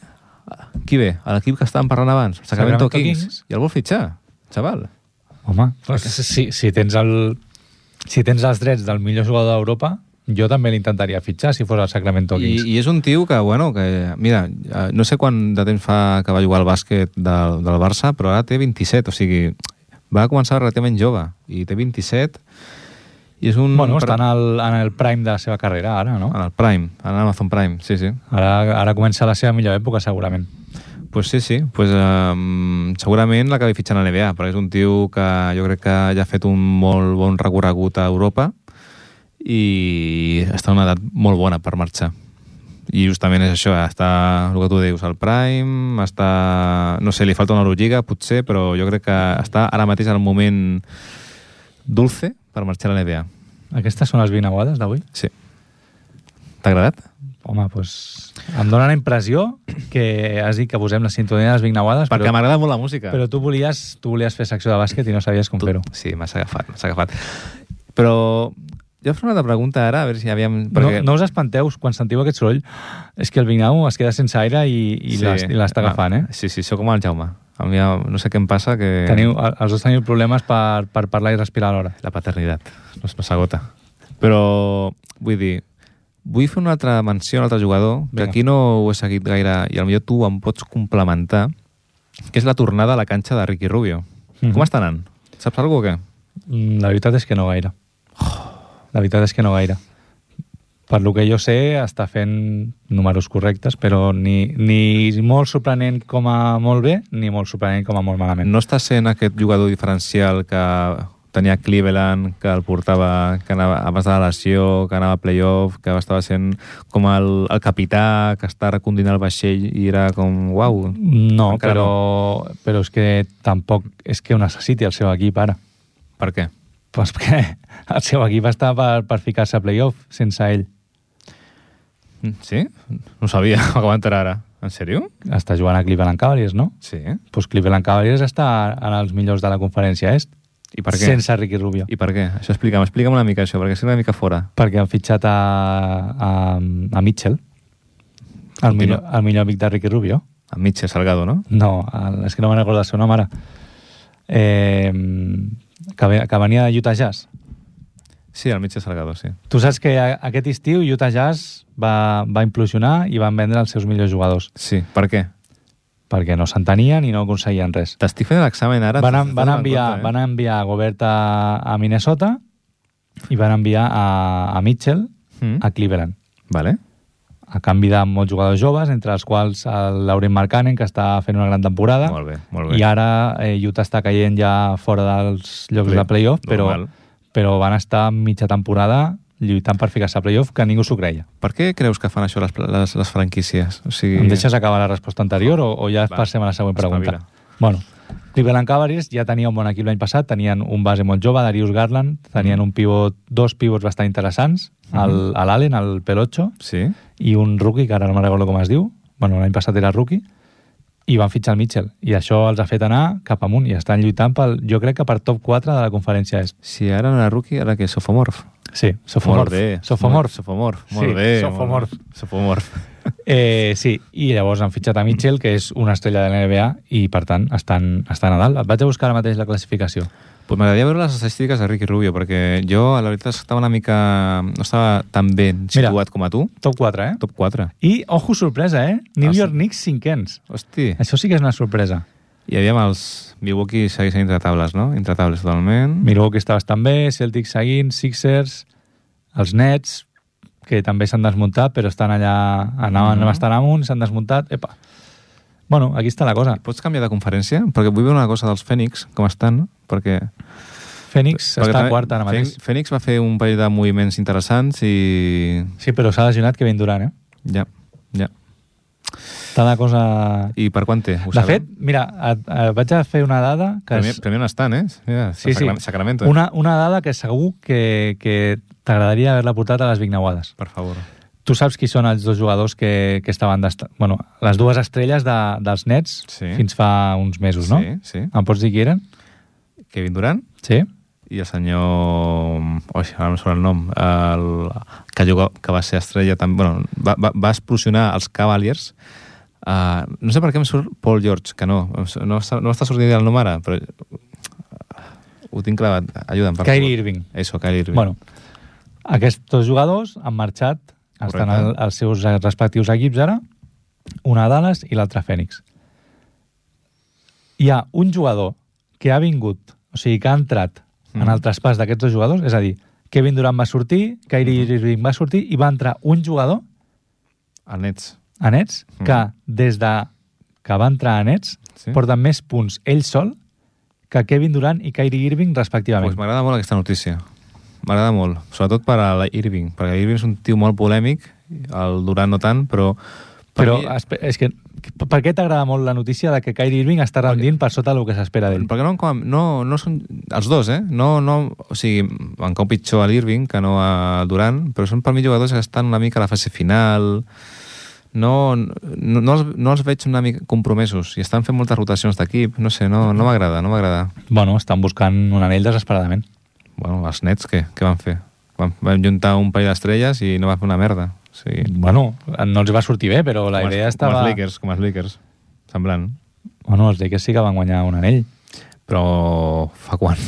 B: Qui ve? A L'equip que estàvem parlant abans, el Sacramento,
A: Sacramento
B: Kings.
A: Kings.
B: I el vol fitxar, xaval.
A: Home, si, si, tens el, si tens els drets del millor jugador d'Europa, jo també l'intentaria fitxar si fos el Sacramento
B: I,
A: Kings. I,
B: I és un tio que, bueno, que, mira, eh, no sé quant de temps fa que va jugar al bàsquet del, del Barça, però ara té 27, o sigui, va començar relativament jove, i té 27, i és un...
A: bueno, està en el, en el prime de la seva carrera ara, no?
B: en el Prime, en Amazon Prime, sí, sí.
A: Ara, ara comença la seva millor època, segurament.
B: Pues sí, sí, pues, um, segurament l'acabi fitxant a NBA, perquè és un tio que jo crec que ja ha fet un molt bon recorregut a Europa i està en una edat molt bona per marxar. I justament és això, està, el que tu dius, al Prime, està... No sé, li falta una Eurolliga, potser, però jo crec que està ara mateix en el moment dulce per marxar a la NBA.
A: Aquestes són les 20 aguades d'avui?
B: Sí. T'ha agradat?
A: Home, doncs em dóna la impressió que has dit que posem la sintonia de les 20 aguades,
B: Perquè
A: però,
B: m'agrada molt la música.
A: però tu, volies, tu volies fer secció de bàsquet i no sabies com fer-ho.
B: Sí, m'has agafat, m'has agafat. Però jo faré una altra pregunta ara, a veure si havíem... Perquè...
A: No, no us espanteu quan sentiu aquest soroll. És que el Vignau es queda sense aire i, i sí. l'està agafant, eh?
B: Ah, Sí, sí, sóc com el Jaume. A mi ja- no sé què em passa, que...
A: Teniu, els dos teniu problemes per, per parlar i respirar alhora.
B: La paternitat, no, no s'agota. Però, vull dir, vull fer una altra menció, un altre jugador, Vinga. que
A: Vinga.
B: aquí no ho he seguit gaire, i potser tu em pots complementar, que és la tornada a la canxa de Ricky Rubio.
A: Mhm.
B: Com està anant? Saps alguna o què?
A: Mm, La veritat és que no gaire. La veritat és que no gaire. Per lo que jo sé, està fent números correctes, però ni, ni molt sorprenent com a molt bé, ni molt sorprenent com a molt malament.
B: No està sent aquest jugador diferencial que tenia Cleveland, que el portava que anava, abans de la lesió, que anava a playoff, que estava sent com el, el capità, que està recondint el vaixell i era com, uau...
A: No,
B: Encara
A: però, però és que tampoc és que ho necessiti el seu equip ara.
B: Per què?
A: Pues perquè el seu equip està per, per ficar-se a playoff sense ell.
B: Mm, Sí? No ho sabia, *laughs* m'acabo d'enterar ara. En sèrio?
A: Està jugant a Cleveland Cavaliers, no?
B: Sí.
A: Pues Cleveland Cavaliers està en els millors de la conferència est.
B: I per què?
A: Sense Ricky Rubio. I...
B: I per què? Això explica'm, explica'm una mica això, perquè estic una mica fora.
A: Perquè han fitxat a, a, a Mitchell, el
B: Continua.
A: millor, el millor amic de Ricky Rubio.
B: Amb Mitchell Salgado, no?
A: No, el, és que no me'n recordo el seu nom ara. Eh, que, ve, que venia de Utah Jazz.
B: Sí, el Mitchell Salgado, sí.
A: Tu saps que a, aquest estiu Utah Jazz va, va implosionar i van vendre els seus millors jugadors
B: Sí, per què?
A: perquè no s'entenien i no aconseguien res.
B: T'estic fent l'examen ara?
A: Van,
B: t'estàs
A: en- van,
B: donant
A: enviar,
B: compte, eh?
A: van enviar a Gobert a, a Minnesota i van enviar a, a Mitchell
B: Mm.
A: a Cleveland
B: Vale.
A: a canvi de molts jugadors joves, entre els quals el Laurent Marcanen, que està fent una gran temporada.
B: Molt bé, molt bé.
A: I ara eh, Utah està caient ja fora dels llocs
B: Play-
A: de playoff, però,
B: normal.
A: però van estar mitja temporada lluitant per ficar-se a playoff, que ningú s'ho creia.
B: Per què creus que fan això les, les, les franquícies? O sigui,
A: Em deixes acabar la resposta anterior o, o ja
B: Va,
A: passem a la següent pregunta?
B: espavila.
A: Bueno, Cleveland Cavaliers ja tenia un bon equip l'any passat, tenien un base molt jove, Darius Garland, tenien
B: Mm.
A: un pivot, dos pivots bastant interessants,
B: Mm-hmm.
A: el- a l'Allen, el Pelocho,
B: Sí?
A: i un rookie, que ara no me'n recordo com es diu, bueno, l'any passat era rookie, i van fitxar el Mitchell, i això els ha fet anar cap amunt, i estan lluitant pel, jo crec que per top 4 de la conferència est.
B: Si ara no era rookie, ara que és sofomorf.
A: Sí, sofomorf.
B: Molt bé.
A: Sofomorf.
B: Sofomorf.
A: Sí,
B: Molt bé. molt-
A: sofomorf.
B: Sofomorf.
A: Eh, sí, i llavors han fitxat a Mitchell, que és una estrella de la NBA, i per tant estan, estan a dalt. Et vaig a buscar ara mateix la classificació.
B: *laughs* Pues m'agradaria veure les estadístiques de Ricky Rubio, perquè jo, a la veritat, estava una mica... No estava tan ben
A: Mira.
B: situat com a tu.
A: Top 4, eh?
B: Top 4.
A: I, ojo, sorpresa, eh? New
B: Ah, sí.
A: York Knicks cinquens.
B: Hosti.
A: Això sí que és una sorpresa.
B: I aviam, els Milwaukee segueixen intratables, no? Intratables totalment.
A: Milwaukee està bastant bé, Celtics seguint, Sixers, els Nets, que també s'han desmuntat, però estan allà, anaven
B: Mm-hmm.
A: mm -hmm. bastant amunt, s'han desmuntat, epa. Bueno, aquí està la cosa.
B: Pots canviar de conferència? Perquè vull veure una cosa dels Fènix, com estan, perquè...
A: Fènix
B: perquè
A: està
B: també-
A: quarta ara mateix.
B: Fènix- Fènix va fer un parell de moviments interessants i...
A: Sí, però s'ha lesionat que ben durant, eh?
B: Ja. Ja.
A: Tant la cosa...
B: I per quant té? Ho
A: De
B: sabeu?
A: fet, mira, et, et vaig a fer una dada que
B: Premier,
A: és
B: Premier on estan, eh? Mira,
A: Sí, sí.
B: Sacramento. eh?
A: una, una dada que segur que, que t'agradaria haver-la portat a les Vignauades.
B: Per favor.
A: Tu saps qui són els dos jugadors que, que estaven... Dest... Bueno, les dues estrelles de, dels Nets
B: Sí.
A: fins fa uns mesos, no?
B: Sí, sí.
A: Em pots dir qui eren?
B: Kevin Durant
A: Sí.
B: i el senyor... Oi, ara no em surt el nom. El... Que, juga, que va ser estrella també. Bueno, va, va, va explosionar els Cavaliers. Uh, no sé per què em surt Paul George, que no. Em su- No, m'està- no m'està sortint el nom ara, però... ah, Ho tinc clavat. Ajuda'm, per
A: Kyrie
B: favor.
A: Irving.
B: Eso, Kyrie Irving.
A: Bueno, aquests dos jugadors han marxat, estan al,
B: Correcte.
A: als seus respectius equips ara, una a Dallas i l'altra a Phoenix. Hi ha un jugador que ha vingut, o sigui, que ha entrat
B: Mm.
A: en el traspàs d'aquests dos jugadors, és a dir, Kevin Durant va sortir, Kyrie
B: Mm-hmm.
A: Irving va sortir i va entrar un jugador
B: El Nets.
A: a Nets que des de que va entrar a Nets
B: Mm-hmm. Sí.
A: porten més punts ell sol que Kevin Durant i Kyrie Irving respectivament.
B: Pues Doncs m'agrada molt aquesta notícia. M'agrada molt. Sobretot per a la Irving, perquè Irving és un tio molt polèmic, el Durant no tant, però... per
A: Però
B: mi-
A: espe- és que per què t'agrada molt la notícia de que Kyrie Irving està rendint per sota del que s'espera d'ell?
B: perquè no, com- no, no són... Els dos, eh? No, no, o sigui, em cau pitjor a l'Irving que no a Durant, però són per mi jugadors que estan una mica a la fase final... No, no, no, els, no els veig una mica compromesos i estan fent moltes rotacions d'equip no sé, no, no m'agrada, no m'agrada
A: Bueno, estan buscant un anell desesperadament.
B: bueno, els nets què, què van fer? Van, van juntar un parell d'estrelles i no va fer una merda o sigui,
A: Bueno, no els va sortir bé, però la
B: com
A: idea
B: els,
A: estava...
B: Com els Lakers, com els Lakers. Semblant.
A: Bueno, els Lakers sí que van guanyar un anell
B: Però fa quan?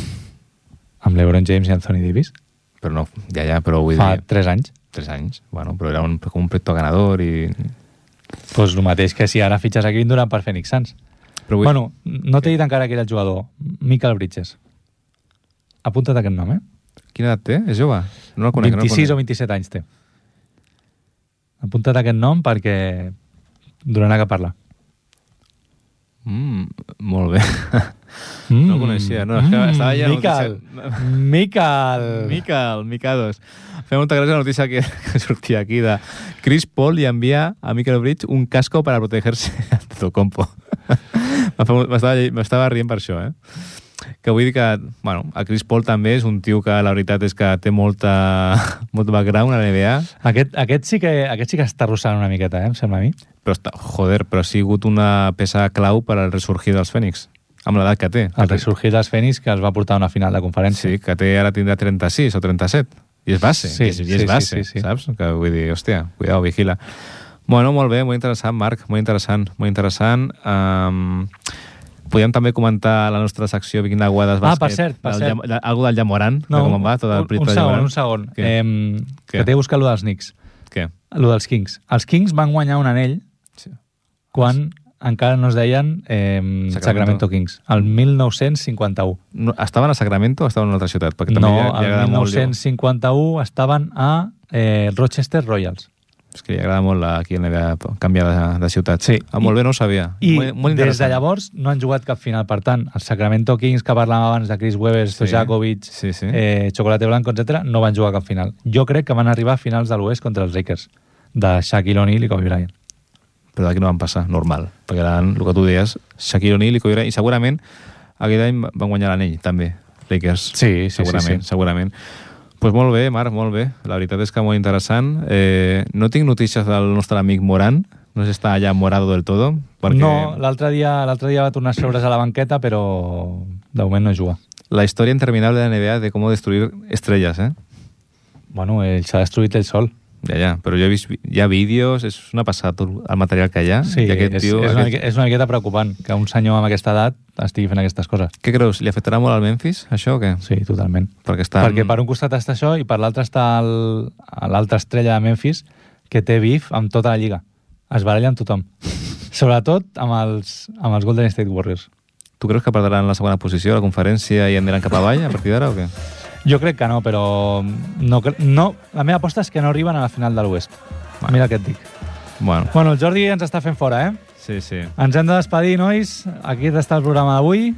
A: amb l'Ebron James i Anthony Davis
B: Però no, ja, ja, però vull
A: fa
B: dir...
A: 3 anys.
B: 3 anys. Bueno, però era un, com un proyecto ganador i...
A: Doncs pues el mateix que si ara fitxes a Kevin Durant per Phoenix Suns.
B: Però vull...
A: Bueno, no t'he dit encara que era el jugador. Michael Bridges. Apunta't aquest nom, eh?
B: Quina edat té? És jove? No el conec.
A: 26 o
B: no el
A: 27 anys té. Apunta't aquest nom perquè donarà que parlar.
B: o... Mm, molt bé.
A: Mm.
B: *laughs* No el coneixia, no, és que estava ja la
A: Miquel,
B: notícia.
A: Miquel.
B: Miquel, Micados. Fem molta gràcia la notícia que, *laughs* que sortia aquí de Chris Paul li envia a Michael Bridge un casco para protegerse *laughs* de tu compo. M'estava lle- m'estava rient per això, eh? que vull dir que, bueno, a Chris Paul també és un tio que la veritat és que té molta, *laughs* molt background a la NBA,
A: Aquest, aquest, sí que, aquest sí que està arrossant una miqueta, eh, em sembla a mi.
B: però, està, joder, però ha sigut una peça clau per al ressorgir dels Fènix, amb l'edat que té.
A: El ressorgir dels Fènix que els va portar a una final de conferència.
B: Sí, que té, ara tindrà 36 o 37. I és base,
A: Sí,
B: sí, és, i és
A: sí,
B: sí, base,
A: sí,
B: sí,
A: sí, sí.
B: sí, saps? Que vull dir, hòstia, cuidao, vigila. Bueno, molt bé, molt interessant, Marc, molt interessant, molt interessant. Um, podíem també comentar la nostra secció Vigna Guades
A: Ah,
B: Bàsquet.
A: per cert, per
B: del
A: cert.
B: Llam- de- Algo del Llamoran, no, de com em va, tot el
A: un, un segon, un segon.
B: Què?
A: Eh,
B: Què?
A: que t'he buscat allò dels Knicks.
B: Què?
A: Allò dels Kings. Els Kings van guanyar un anell
B: Sí.
A: quan encara no es deien eh, Sacramento.
B: Sacramento
A: Kings, el 1951.
B: No, estaven a Sacramento o estaven a una altra ciutat? Perquè
A: No,
B: també li, li
A: el
B: agrada molt,
A: 1951 estaven a eh, Rochester Royals.
B: És que li agrada molt la, aquí en la canviar de, de ciutat.
A: Sí.
B: Ah, molt bé, no ho sabia.
A: I
B: molt, molt
A: des de
B: interessant.
A: llavors no han jugat cap final. Per tant, el Sacramento Kings, que parlàvem abans de Chris Webber, sí. Stojakovic,
B: Sí, sí.
A: eh, Chocolate Blanco, etc, no van jugar cap final. Jo crec que van arribar a finals de l'Oest contra els Lakers, de Shaquille O'Neal i Kobe Bryant.
B: però d'aquí no van passar, normal, perquè eren, el que tu deies, Shaquille O'Neal i Kobe Bryant, i segurament aquell any van guanyar l'anell, també, Lakers.
A: Sí, sí, sí,
B: segurament,
A: sí.
B: segurament. Pues molt bé, Marc, molt bé. La veritat és que molt interessant. Eh, no tinc notícies del nostre amic Moran, no sé si està allà morado del todo, perquè
A: No, l'altre dia, l'altre dia va tornar a seure's a la banqueta, però de moment no juga.
B: la història interminable de la NBA de com destruir estrelles, eh?
A: Bueno, ell s'ha destruït el sol.
B: Ja, ja, però jo he vist, vi- hi ha vídeos, és una passada tot el material que hi ha,
A: Sí,
B: i aquest
A: és,
B: tio...
A: és, una,
B: aquest...
A: mique- és una miqueta preocupant que un senyor amb aquesta edat estigui fent aquestes coses.
B: Què creus, li afectarà molt al Memphis, això o què?
A: Sí, totalment.
B: Perquè està...
A: Perquè per un costat està això i per l'altre està el- l'altra estrella de Memphis que té bif amb tota la lliga. Es baralla amb
B: *laughs*
A: tothom. Sobretot amb els, amb els Golden State Warriors.
B: Tu creus que perdran la segona posició a la conferència i aniran cap avall a partir d'ara o què?
A: Jo crec que no, però no, cre- no, la meva aposta és que no arriben a la final de l'Oest. Mira què et dic.
B: Bueno,
A: Bueno, el Jordi ens està fent fora, eh?
B: sí, sí.
A: Ens hem de despedir, nois. Aquí està el programa d'avui.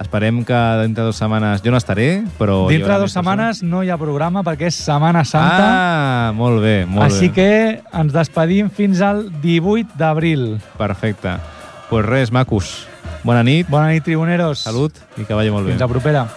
B: Esperem que dintre de dues setmanes... Jo no estaré, però... hi
A: Dintre
B: haurà
A: de dues
B: més persones.
A: setmanes no hi ha programa perquè és Setmana Santa.
B: Ah, molt bé, molt
A: així
B: bé.
A: que ens despedim fins al 18 d'abril.
B: Perfecte. Doncs pues res, macos. Bona nit,
A: Bona nit, tribuneros.
B: salut i que vagi molt bé.
A: Fins la propera.